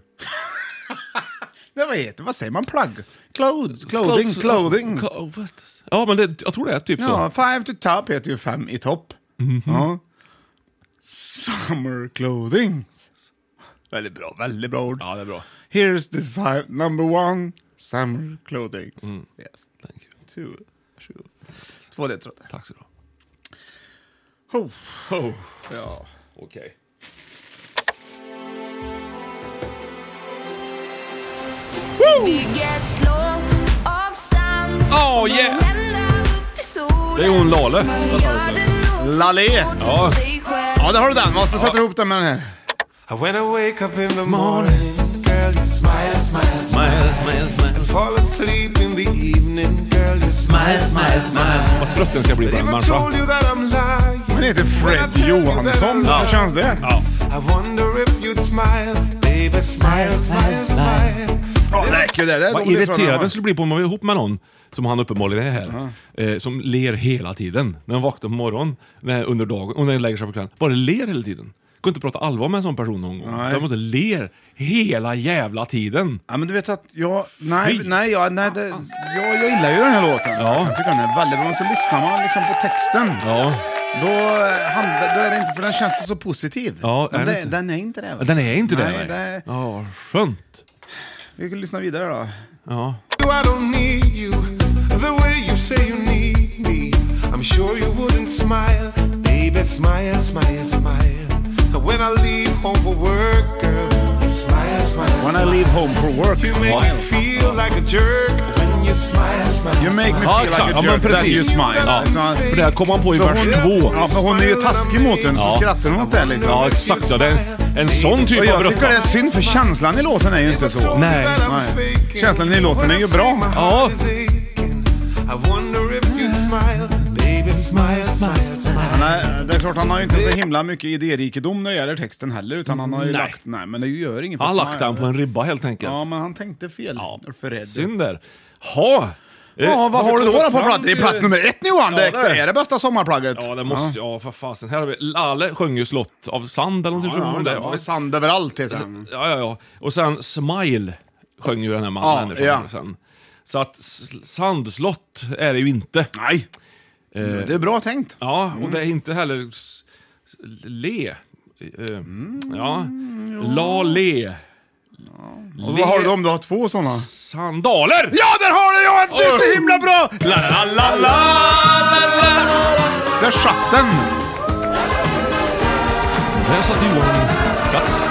Speaker 1: Nej, vad heter Vad säger man plagg? Clothes, clothing, clothing.
Speaker 2: Clo- vad? Ja, men det, jag tror det är typ
Speaker 1: Ja,
Speaker 2: så.
Speaker 1: five to top heter ju fem i topp. Ja. Summer clothing. Väldigt bra, väldigt bra ord.
Speaker 2: Ja, det är bra.
Speaker 1: Here's the five, number one, summer clothing.
Speaker 2: Mm.
Speaker 1: Yes.
Speaker 2: Thank you.
Speaker 1: Two, two. Två ledtrådar.
Speaker 2: Tack så du ha.
Speaker 1: Ho.
Speaker 2: Ho.
Speaker 1: Ja.
Speaker 2: Okej.
Speaker 8: Bygges lågt av sand
Speaker 2: Oh, yeah.
Speaker 8: Från ända upp till solen.
Speaker 2: Det är hon Lale.
Speaker 1: Lalé.
Speaker 2: Ja.
Speaker 1: Ja, där har du den. Måste sätta ihop den med den här.
Speaker 9: When I wake up in the morning, girl, you smile, smile, smile, smile, smile. And fall asleep in the evening, girl, you smile, smile, smile.
Speaker 2: Vad trött den ska bli på den
Speaker 9: Told
Speaker 2: människan.
Speaker 9: you that I'm lying.
Speaker 1: Han heter Fred Johansson.
Speaker 2: Ja.
Speaker 1: Hur känns det?
Speaker 2: Ja.
Speaker 9: I wonder if you'd smile, baby, smile, smile, smile.
Speaker 1: Ja, det räcker det. det är
Speaker 2: Vad
Speaker 1: de ledtrådarna
Speaker 2: irriterad
Speaker 1: man har.
Speaker 2: den skulle bli på om man var ihop med någon som han uppenbarligen är här. Eh, som ler hela tiden. När han vaknar på morgonen, när, under dagen och när han lägger sig på kvällen. Bara ler hela tiden. Går inte prata allvar med en sån person någon gång.
Speaker 1: Nej.
Speaker 2: Däremot ler hela jävla tiden.
Speaker 1: Ja, men du vet att jag... Nej,
Speaker 2: Fy.
Speaker 1: nej, jag, nej det, jag, jag gillar ju den här låten.
Speaker 2: Ja.
Speaker 1: Jag tycker den är väldigt bra. Men så lyssnar man liksom på texten.
Speaker 2: Ja.
Speaker 1: Då, eh, handlar- då är det inte, för den känns så positiv.
Speaker 2: Ja,
Speaker 1: men
Speaker 2: är det
Speaker 1: det,
Speaker 2: inte?
Speaker 1: den är inte det. va?
Speaker 2: Den är inte
Speaker 1: nej,
Speaker 2: det,
Speaker 1: det är-
Speaker 2: Ja, skönt.
Speaker 1: Vi kan lyssna vidare då.
Speaker 2: Ja.
Speaker 9: You, I don't need you the way you say you need me. I'm sure you wouldn't smile, baby. Smile, smile, smile. When I leave home for work, girl, smile, smile.
Speaker 1: When I
Speaker 9: smile.
Speaker 1: leave home for work.
Speaker 9: you make me feel like a jerk when you smile, smile.
Speaker 1: You make
Speaker 9: smile.
Speaker 1: me feel
Speaker 2: Ja, exakt.
Speaker 1: like a
Speaker 2: Ja, men
Speaker 1: jerk that
Speaker 2: precis.
Speaker 1: you smile.
Speaker 2: Ja.
Speaker 1: Så-
Speaker 2: För det här kom han på i
Speaker 1: så
Speaker 2: vers
Speaker 1: hon-
Speaker 2: två.
Speaker 1: Ja, för hon är ju taskig mot en, så
Speaker 2: Ja.
Speaker 1: skrattar hon åt det liksom.
Speaker 2: Ja, exakt. Ja, det är en sån typ
Speaker 1: Och
Speaker 2: av
Speaker 1: jag tycker det är
Speaker 2: brutta.
Speaker 1: synd, för känslan i låten är ju inte så.
Speaker 2: Nej.
Speaker 1: Nej. Känslan i låten är ju bra.
Speaker 2: Ja.
Speaker 9: I wonder if you'd smile, baby. Smile, smile, smile.
Speaker 1: Nej, det är klart han har ju inte så himla mycket idérikedom när det gäller texten heller, utan han har ju
Speaker 2: Nej.
Speaker 1: lagt... Nej, men det gör inget. för
Speaker 2: Han
Speaker 1: smile.
Speaker 2: lagt den på en ribba helt enkelt.
Speaker 1: Ja, men han tänkte fel. Fred.
Speaker 2: Synd där. Ha. Eh,
Speaker 1: Ja, vad har du då, då på plats? Det är plats nummer ett nu Johan!
Speaker 2: Ja,
Speaker 1: det
Speaker 2: det är det.
Speaker 1: är det bästa sommarplagget.
Speaker 2: Ja, det måste... Ja, för fasen. Här har vi... Lalle sjöng ju Slott av sand eller någonting.
Speaker 1: Ja,
Speaker 2: Ja,
Speaker 1: det var sand överallt heter den.
Speaker 2: ja, ja, ja. Och sen Smile sjöng ju den här
Speaker 1: Ja,
Speaker 2: mannen Andersson
Speaker 1: ja.
Speaker 2: sen. Så att s- sandslott är det ju inte.
Speaker 1: Nej, Mm.
Speaker 2: Eh,
Speaker 1: det är bra tänkt.
Speaker 2: Ja, och det är inte heller s- s- le. Eh,
Speaker 1: Mm,
Speaker 2: ja. La le.
Speaker 1: Och vad har du om du har två sådana?
Speaker 2: Sandaler!
Speaker 1: Ja, där har du Johan! Du är så himla bra! La, la, la, la, la, la, la. Där satt den!
Speaker 2: Där satt Johan plats.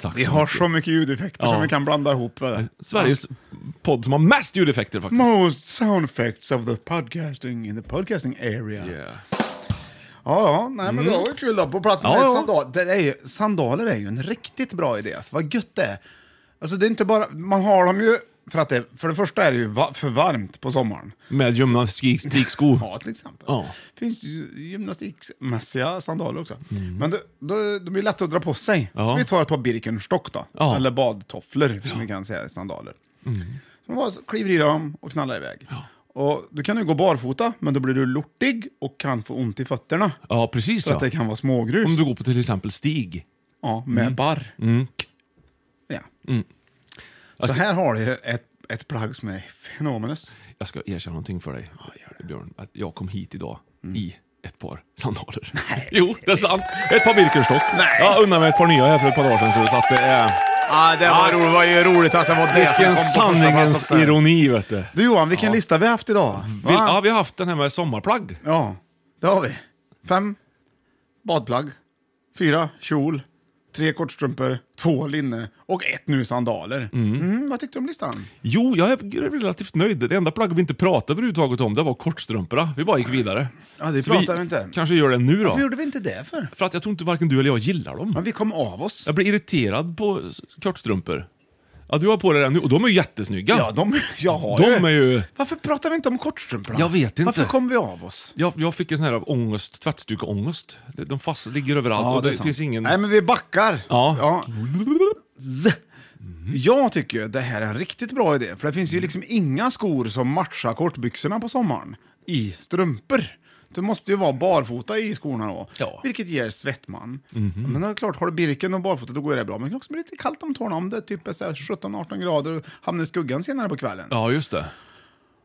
Speaker 2: Tack
Speaker 1: Vi
Speaker 2: så
Speaker 1: har
Speaker 2: mycket.
Speaker 1: så mycket ljudeffekter
Speaker 2: Ja.
Speaker 1: som vi kan blanda ihop. va?
Speaker 2: Sveriges podd som har mest ljudeffekter faktiskt.
Speaker 1: Most sound effects of the podcasting in the podcasting area.
Speaker 2: Yeah.
Speaker 1: Ja, ja, nej men det var ju kul då. På plats med
Speaker 2: Ja, ja.
Speaker 1: sandal. Det är ju, sandaler är ju en riktigt bra idé. Alltså, vad gött det är. Alltså det är inte bara, man har dem ju för att det, för det första är det ju va, för varmt på sommaren.
Speaker 2: Med gymnastiksko.
Speaker 1: Ja, till exempel.
Speaker 2: Ja.
Speaker 1: Det finns ju gymnastikmässiga sandaler också. Men då, då, de blir lätta att dra på sig. Så
Speaker 2: Mm. Ja.
Speaker 1: vi tar ett par Birkenstock då,
Speaker 2: Ja. Mm.
Speaker 1: eller badtofflor som vi kan säga i sandaler. Så man bara kliver i dem och knallar iväg. Och du kan ju gå barfota, men då blir du lortig och kan få ont i fötterna.
Speaker 2: Ja, precis
Speaker 1: Så att
Speaker 2: ja.
Speaker 1: det kan vara smågrus.
Speaker 2: Om du går på till exempel Stig.
Speaker 1: Ja, med barr.
Speaker 2: Mm. Alltså-
Speaker 1: Ja. Så här har du ett, ett plagg som är fenomenes.
Speaker 2: Jag ska erkänna någonting för dig, Björn. Att jag kom hit idag
Speaker 1: Mm.
Speaker 2: i ett par sandaler. Nej. (laughs) Jo, det är sant. Ett par Birkenstock.
Speaker 1: Nej.
Speaker 2: Jag unnar mig ett par nya här för ett par dagar sedan. Så så att det är...
Speaker 1: Ah, det var, roligt, var ju roligt att det var
Speaker 2: Vilken sanningens ironi, vet du.
Speaker 1: Du Johan, vilken lista vi har haft idag.
Speaker 2: Vill,
Speaker 1: Va?
Speaker 2: ja, vi har haft den här med sommarplagg.
Speaker 1: Ja, det har vi. Fem badplagg. Fyra kjol. tre kortstrumpor, två linne och ett nu sandaler. Mm. vad tyckte du om listan?
Speaker 2: Jo, jag är relativt nöjd. Det enda plagg vi inte pratade överhuvudtaget om det var kortstrumporna. Vi bara gick vidare.
Speaker 1: Ja, det
Speaker 2: Så
Speaker 1: pratar vi inte.
Speaker 2: kanske gör det nu då.
Speaker 1: Varför gjorde vi inte det för?
Speaker 2: För att jag tror inte varken du eller jag gillar dem. Men
Speaker 1: vi kom av oss.
Speaker 2: Jag blir irriterad på s- kortstrumpor. Ja, du har på dig den nu och de är ju jättesnygga.
Speaker 1: Ja, de, (laughs) jag har
Speaker 2: de är ju...
Speaker 1: Varför pratar vi inte om kortstrumporna?
Speaker 2: Jag vet inte.
Speaker 1: Varför kom vi av oss?
Speaker 2: Jag, jag fick en sån här ångest, tvättstugeångest. De de fast, ligger överallt och det,
Speaker 1: sant.
Speaker 2: finns ingen...
Speaker 1: Nej, men vi backar.
Speaker 2: Ja.
Speaker 1: Z. Jag tycker ju det här är en riktigt bra idé, för det finns ju liksom inga skor som matchar kortbyxorna på sommaren i strumpor. Du måste ju vara barfota i skorna då, vilket ger svettman. Men det är klart, har du birken och barfota då går det bra, men det kan också bli lite kallt om tårna om det typ är så här 17-18 grader och hamnar i skuggan senare på kvällen.
Speaker 2: Ja, just det.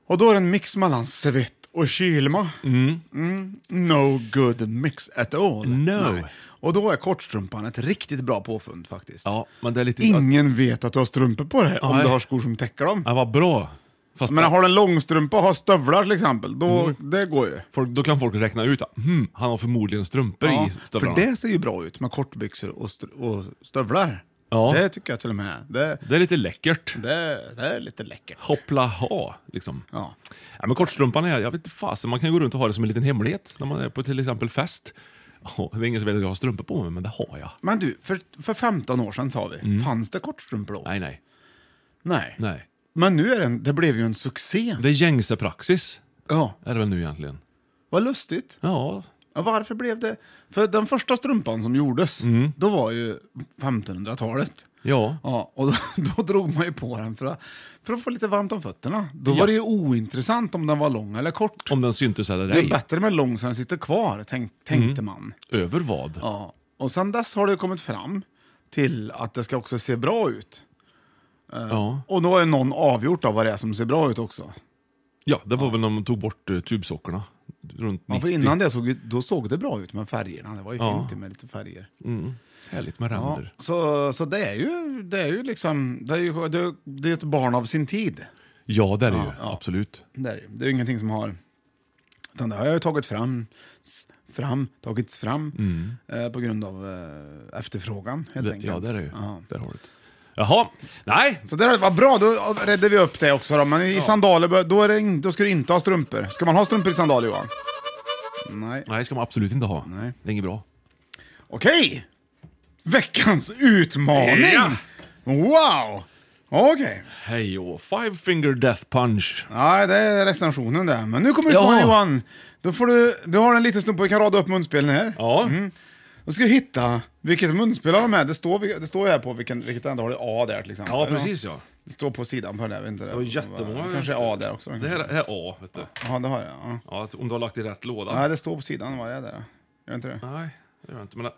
Speaker 1: Och då är det en mix mellan svett och kylma. Mm. No good mix at all.
Speaker 2: No.
Speaker 1: Nej. Och då är kortstrumpan ett riktigt bra påfund faktiskt.
Speaker 2: Ja, men det är lite...
Speaker 1: Ingen vet att du har strumpor på dig om
Speaker 2: Nej.
Speaker 1: du har skor som täcker dem.
Speaker 2: Ja, vad bra. Fast
Speaker 1: Men har du en långstrumpa och har stövlar till exempel, då,
Speaker 2: Mm.
Speaker 1: det går ju.
Speaker 2: folk, då kan folk räkna ut att hmm, han har förmodligen strumpor
Speaker 1: Ja,
Speaker 2: i
Speaker 1: för
Speaker 2: stövlarna.
Speaker 1: det ser ju bra ut med kortbyxor och, str- och stövlar.
Speaker 2: Ja.
Speaker 1: Det tycker jag till och med. Det,
Speaker 2: det är lite läckert.
Speaker 1: det, det är lite läckert.
Speaker 2: Hoppla ha, liksom.
Speaker 1: Ja.
Speaker 2: Ja, men kortstrumpan är, jag vet inte fasen, man kan gå runt och ha det som en liten hemlighet när man är på till exempel fest. Ja, det är ingen som vet att jag har strumpor på mig, men det har jag.
Speaker 1: Men du, för, för 15 år sedan sa vi, fanns det kortstrumpor då?
Speaker 2: Mm. Nej, nej.
Speaker 1: Nej.
Speaker 2: nej.
Speaker 1: Men nu är den, det blev ju en succé.
Speaker 2: Det är gängse praxis,
Speaker 1: Ja,
Speaker 2: är det väl nu egentligen.
Speaker 1: vad lustigt.
Speaker 2: Ja,
Speaker 1: Ja, varför blev det... För den första strumpan som gjordes, då var ju 1500-talet.
Speaker 2: Mm. ja.
Speaker 1: Ja, och då, (laughs) då drog man ju på den för att, för att få lite varmt om fötterna. Då var det ju ointressant om den var lång eller kort.
Speaker 2: Om den syntes eller
Speaker 1: Det är
Speaker 2: ej.
Speaker 1: bättre med lång så den sitter kvar, tänk,
Speaker 2: Mm.
Speaker 1: tänkte man.
Speaker 2: Över vad?
Speaker 1: Ja. Och sen dess har det ju kommit fram till att det ska också se bra ut. Eh,
Speaker 2: Ja,
Speaker 1: Och då har ju någon avgjort av vad det är som ser bra ut också.
Speaker 2: ja det var väl när man tog bort uh, tubsockorna. Runt 90.
Speaker 1: Ja, för innan det såg, ju- då såg det bra ut med färgerna. Det var ju
Speaker 2: Ja.
Speaker 1: fint med lite färger.
Speaker 2: Mm. Härligt med
Speaker 1: Ja,
Speaker 2: ränder.
Speaker 1: så, så det är ju det är ju liksom, det är ju det är, det är ett barn av sin tid.
Speaker 2: Ja, det är det ju. Absolut.
Speaker 1: Det är, det ju. det är ju ingenting som har... Utan det har ju tagit fram, s- fram, tagits fram eh, på grund av eh, efterfrågan
Speaker 2: Mm.
Speaker 1: helt
Speaker 2: Det,
Speaker 1: enkelt.
Speaker 2: ja, det är det ju.
Speaker 1: Ja.
Speaker 2: Där har du det. Jaha, nej.
Speaker 1: Så det var bra, då redde vi upp det också då. Men i sandaler, bör- då, är det, in- då ska du inte ha strumpor. Ska man ha strumpor i sandaler Johan? Nej.
Speaker 2: Nej, ska man absolut inte ha.
Speaker 1: Nej.
Speaker 2: Det är inget bra.
Speaker 1: Okej! Veckans utmaning!
Speaker 2: Ja.
Speaker 1: Wow! Okej.
Speaker 2: Hej och Five Finger Death Punch.
Speaker 1: Nej, det är recensionen det. Men nu kommer utmaningen
Speaker 2: Ja.
Speaker 1: Johan. Då får du, du har en liten stund på dig, kan rada upp munspelen här.
Speaker 2: Ja. Mm.
Speaker 1: Mm. Då ska du hitta vilket munspel har de här. Det står, vi- det står ju här på vilken, vilket enda har det A där till exempel.
Speaker 2: Ja, precis ja.
Speaker 1: Det står på sidan på den där, vet inte.
Speaker 2: Det var jättemånga.
Speaker 1: Det kanske är A där också.
Speaker 2: Det här är A, vet du.
Speaker 1: Ja, det har jag. Ja.
Speaker 2: Ja, att om du har lagt i rätt låda.
Speaker 1: Nej, det står på sidan vad det är där. Gör inte det?
Speaker 2: Nej, det gör jag inte. Men...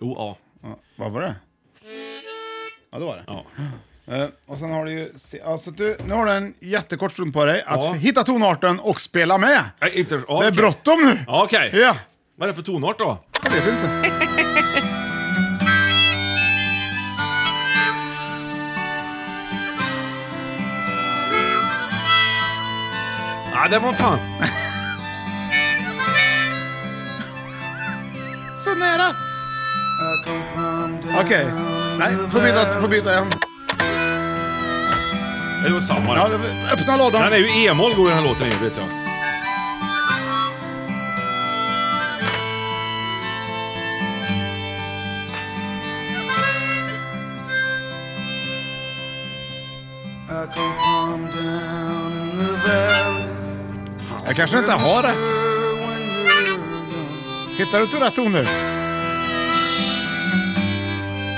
Speaker 2: Jo, A.
Speaker 1: Ja. Vad var det? Ja, det var det.
Speaker 2: Ja.
Speaker 1: Eh, och sen har du ju... se- Alltså, du, nu har du en jättekort stund på dig att
Speaker 2: Ja.
Speaker 1: hitta tonarten och spela med.
Speaker 2: Nej, inte... Ja,
Speaker 1: Det är
Speaker 2: okej.
Speaker 1: bråttom nu!
Speaker 2: Ja, Okej.
Speaker 1: Ja,
Speaker 2: Vad är det för tonart då?
Speaker 1: jag vet inte.
Speaker 2: Ja, det var fan...
Speaker 1: Så nära! Okej. Nej, får byta, får byta igen.
Speaker 2: Det var samma.
Speaker 1: Ja,
Speaker 2: det...
Speaker 1: öppna lådan.
Speaker 2: Den är ju e-moll går den här låten i, vet jag.
Speaker 1: Jag kanske inte har rätt. Hittar du inte rätt toner?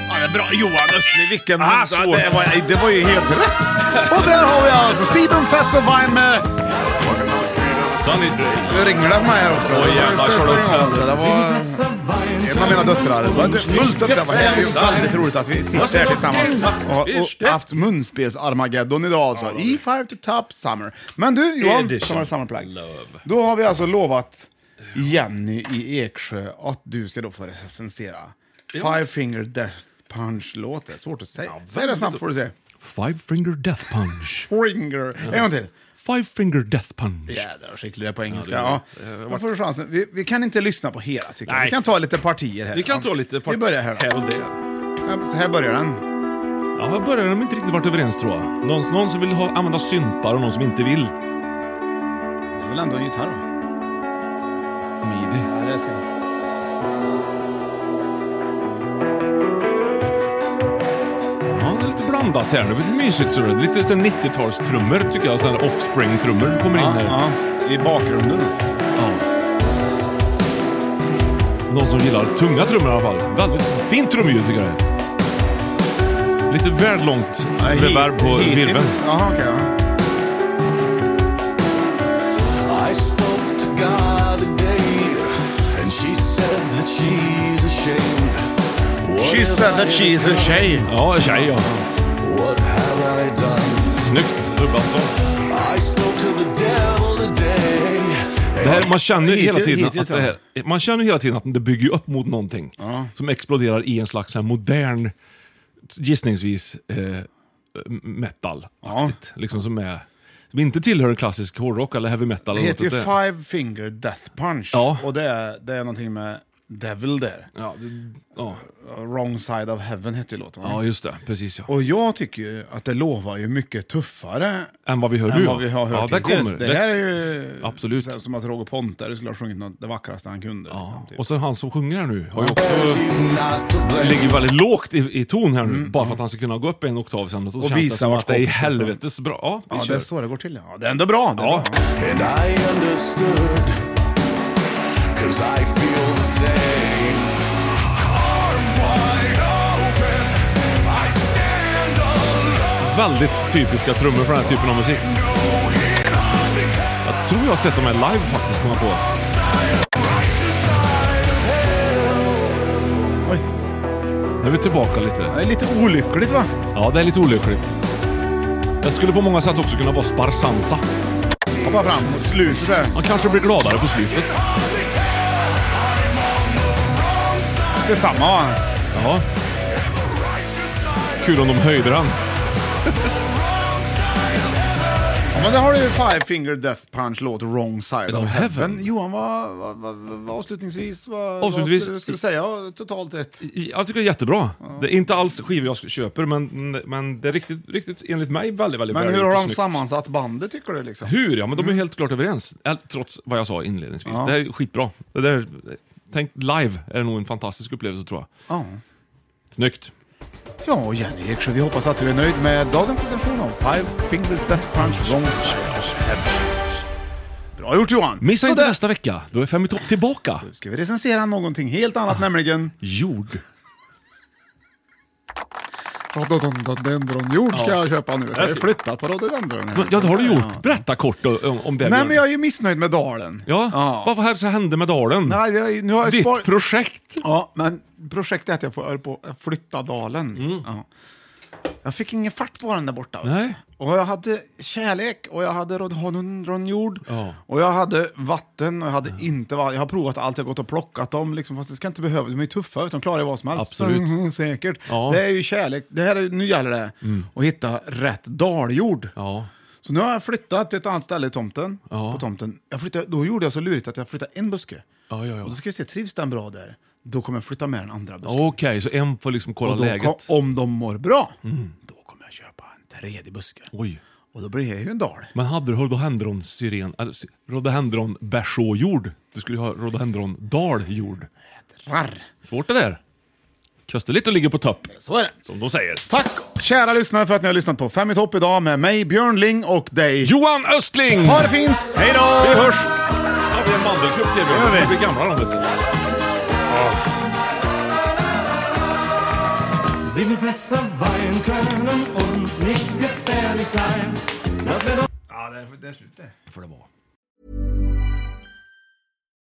Speaker 1: Ja, det är bra. Johan Östling, vilken...
Speaker 2: Ah, så.
Speaker 1: det, var, det var ju helt rätt! Och där har vi alltså Sibum Fesselbein med...
Speaker 2: Sunny
Speaker 1: Nu ringer det på mig här också.
Speaker 2: Oj, jävlar,
Speaker 1: Det var ju
Speaker 2: kör du upp
Speaker 1: största
Speaker 2: sen?
Speaker 1: Det var en av mina döttrar. Det var fullt upp där. Det är ju väldigt roligt att vi sitter här tillsammans och och haft munspels-Armageddon idag alltså. I Five to Top Summer. Men du Johan,
Speaker 2: Edition.
Speaker 1: som har samma plagg. Då har vi alltså lovat Jenny i Eksjö att du ska då få recensera Five Finger Death Punch-låt. Det är svårt att säga. Säg det snabbt får du se.
Speaker 2: Five Finger Death Punch.
Speaker 1: Finger. En gång till.
Speaker 2: Five Finger Death Punch.
Speaker 1: Jädrar vad skicklig du är på engelska.
Speaker 2: Ja, det är det.
Speaker 1: Ja,
Speaker 2: Det har
Speaker 1: Då
Speaker 2: varit-
Speaker 1: får du chansen. Vi, vi kan inte lyssna på hela tycker jag.
Speaker 2: Nej.
Speaker 1: Vi kan ta lite partier här.
Speaker 2: Vi kan ta lite
Speaker 1: Vi börjar här.
Speaker 2: och där.
Speaker 1: Ja, så här börjar den.
Speaker 2: Ja, här börjar de inte riktigt varit överens tror jag. Någon, någon som vill ha, använda syntar och någon som inte vill.
Speaker 1: Det är väl ändå en gitarr va?
Speaker 2: Midi.
Speaker 1: Ja, det är snyggt.
Speaker 2: Ja, det är lite blandat här. Det blir mysigt ser du. Lite så här 90-talstrummor tycker jag. Sådana offspring-trummor kommer in här.
Speaker 1: I bakgrunden.
Speaker 2: Någon som gillar tunga trummor i alla fall. Väldigt fint trumljud tycker jag. Lite väl långt reverb på
Speaker 1: Hittills.
Speaker 2: virveln.
Speaker 1: Jaha, okej. ja.
Speaker 10: I spoke to God today, and she said that she's ashamed. What
Speaker 1: She
Speaker 10: have
Speaker 1: said
Speaker 10: I
Speaker 1: that she is a
Speaker 10: done?
Speaker 1: tjej.
Speaker 2: Ja, tjej ja.
Speaker 10: What have I done?
Speaker 2: Snyggt dubbat så.
Speaker 10: I spoke to the devil today.
Speaker 2: Det här, man känner ju hela
Speaker 10: Hittills-
Speaker 2: tiden
Speaker 10: hittills,
Speaker 2: att det här, man känner ju hela tiden att det bygger ju upp mot någonting som exploderar i en slags så här modern, gissningsvis, eh, metal Liksom som är, som inte tillhör en klassisk hårdrock eller heavy metal.
Speaker 1: Det
Speaker 2: eller
Speaker 1: heter ju
Speaker 2: något åt det.
Speaker 1: Five Finger Death Punch. Och det är, det är någonting med Devil där.
Speaker 2: Ja, det, ja.
Speaker 1: Wrong Side of Heaven heter ju låten. va?
Speaker 2: Ja, just det. Precis ja.
Speaker 1: Och jag tycker ju att det lovar ju mycket tuffare
Speaker 2: Än vad vi hör
Speaker 1: än
Speaker 2: nu
Speaker 1: vad vi har hört
Speaker 2: Ja, där
Speaker 1: hittills.
Speaker 2: kommer
Speaker 1: Det
Speaker 2: det.
Speaker 1: här är ju
Speaker 2: Absolut.
Speaker 1: så här som att Roger Pontare skulle ha sjungit något, det vackraste han kunde. liksom, typ.
Speaker 2: Och så han som sjunger här nu har ju också... ligger väldigt lågt i, i ton här nu, bara för att han ska kunna gå upp en oktav sen. Och, så
Speaker 1: Mm, Och
Speaker 2: känns det
Speaker 1: visa
Speaker 2: som
Speaker 1: vart
Speaker 2: att det är i
Speaker 1: kompisen står.
Speaker 2: helvetes bra. Ja, vi
Speaker 1: Ja,
Speaker 2: kör.
Speaker 1: det är så det går till. Ja, det är ändå bra. Det är bra.
Speaker 10: And I understood, cause I feel the same. Arm wide open, I stand alone.
Speaker 2: Väldigt typiska trummor för den här typen av musik. Jag tror jag har sett dem här live faktiskt, kommer jag på. Oj. Nu är vi tillbaka lite. Det
Speaker 1: är lite olyckligt va?
Speaker 2: Ja, det är lite olyckligt. Det skulle på många sätt också kunna vara sparsansa.
Speaker 1: Hoppa fram mot slutet där.
Speaker 2: Man kanske blir gladare på slutet.
Speaker 1: Det är samma va?
Speaker 2: Ja. Kul om de höjde den.
Speaker 1: Ja, men där har du ju Five Finger Death Punch låt Wrong Side of
Speaker 2: Of
Speaker 1: Heaven.
Speaker 2: Heaven.
Speaker 1: Johan, vad, vad, vad, vad avslutningsvis, vad,
Speaker 2: Avslutningsvis-
Speaker 1: vad skulle, skulle du säga totalt sett?
Speaker 2: I- Jag tycker det är jättebra. Det är inte alls skivor jag köper, men, men det är riktigt, riktigt, enligt mig, väldigt, väldigt
Speaker 1: Men
Speaker 2: bra
Speaker 1: hur
Speaker 2: gjort
Speaker 1: har
Speaker 2: och
Speaker 1: de
Speaker 2: snyggt.
Speaker 1: sammansatt bandet tycker du? liksom?
Speaker 2: Hur? Ja, men de är helt klart överens. Äl- Trots vad jag sa inledningsvis.
Speaker 1: Ja.
Speaker 2: Det här är skitbra. Det där, tänk live är nog en fantastisk upplevelse tror jag.
Speaker 1: Ja.
Speaker 2: Snyggt.
Speaker 1: Ja, och Jenny Eksjö, vi hoppas att du är nöjd med dagens presentation av Five Finger Death Punch Wrong Side of Heaven. Bra gjort Johan!
Speaker 2: Missa inte
Speaker 1: Sådär.
Speaker 2: nästa vecka. Då är Fem i topp tillbaka.
Speaker 1: Ska vi recensera någonting helt annat nämligen...
Speaker 2: Jord.
Speaker 1: Rhododendron jord ska
Speaker 2: Ja.
Speaker 1: jag köpa nu. Jag har
Speaker 2: Jag ska-
Speaker 1: flyttat på rhododendron. här.
Speaker 2: Ja, det har du gjort. Berätta kort då, om, om det.
Speaker 1: Nej,
Speaker 2: Björn.
Speaker 1: men jag är ju missnöjd med dalen.
Speaker 2: Ja, vad var det som hände med dalen?
Speaker 1: Nej, jag, nu har jag
Speaker 2: Ditt
Speaker 1: spar-
Speaker 2: projekt.
Speaker 1: Ja, men projektet är att jag får på att flytta dalen. Ja. Jag fick ingen fart på den där borta. vet du.
Speaker 2: Mm. Nej.
Speaker 1: Och jag hade kärlek och jag hade rhododendronjord.
Speaker 2: Ja.
Speaker 1: Och jag hade vatten och jag hade inte vatten. Jag har provat allt, jag har gått och plockat dem. Liksom, fast det ska inte behöva, de är ju tuffa, vet du, de klarar ju vad som helst.
Speaker 2: Absolut.
Speaker 1: Mm, Säkert.
Speaker 2: Ja. Mm.
Speaker 1: Det är ju kärlek, det här är, nu gäller det att hitta rätt daljord.
Speaker 2: Ja.
Speaker 1: Så nu har jag flyttat till ett annat ställe i tomten,
Speaker 2: Ja.
Speaker 1: på tomten. Jag flyttade, då gjorde jag så lurigt att jag flyttade en buske.
Speaker 2: Ja, ja, ja.
Speaker 1: Och då ska vi se, trivs den bra där? Då kommer jag flytta med den andra busken.
Speaker 2: Okej, så en får liksom kolla
Speaker 1: och då
Speaker 2: läget. Mm.
Speaker 1: kom, om de mår bra, då kommer jag köpa en tredje buske.
Speaker 2: Oj.
Speaker 1: Och då blir det ju en dal.
Speaker 2: Men hade du rhododendron-syren... eller sy- Rhododendron-bersåjord? Du skulle ju ha rhododendron-daljord.
Speaker 1: Rarr.
Speaker 2: Svårt det där. Kösterligt att ligga på topp,
Speaker 1: Så är det.
Speaker 2: som de säger.
Speaker 1: Tack kära lyssnare för att ni har lyssnat på Fem i topp idag med mig, Björn Ling och dig.
Speaker 2: Johan Östling!
Speaker 1: Ha det fint! Hej då!
Speaker 2: Vi hörs! Ja, vi har en mandelkupp till.
Speaker 1: gör vi.
Speaker 2: Vi blir gamla de, vet du.
Speaker 11: Sieben Fässer Wein können uns nicht gefährlich sein. Das wäre doch
Speaker 1: Ja, där, där slutar det. Får det vara.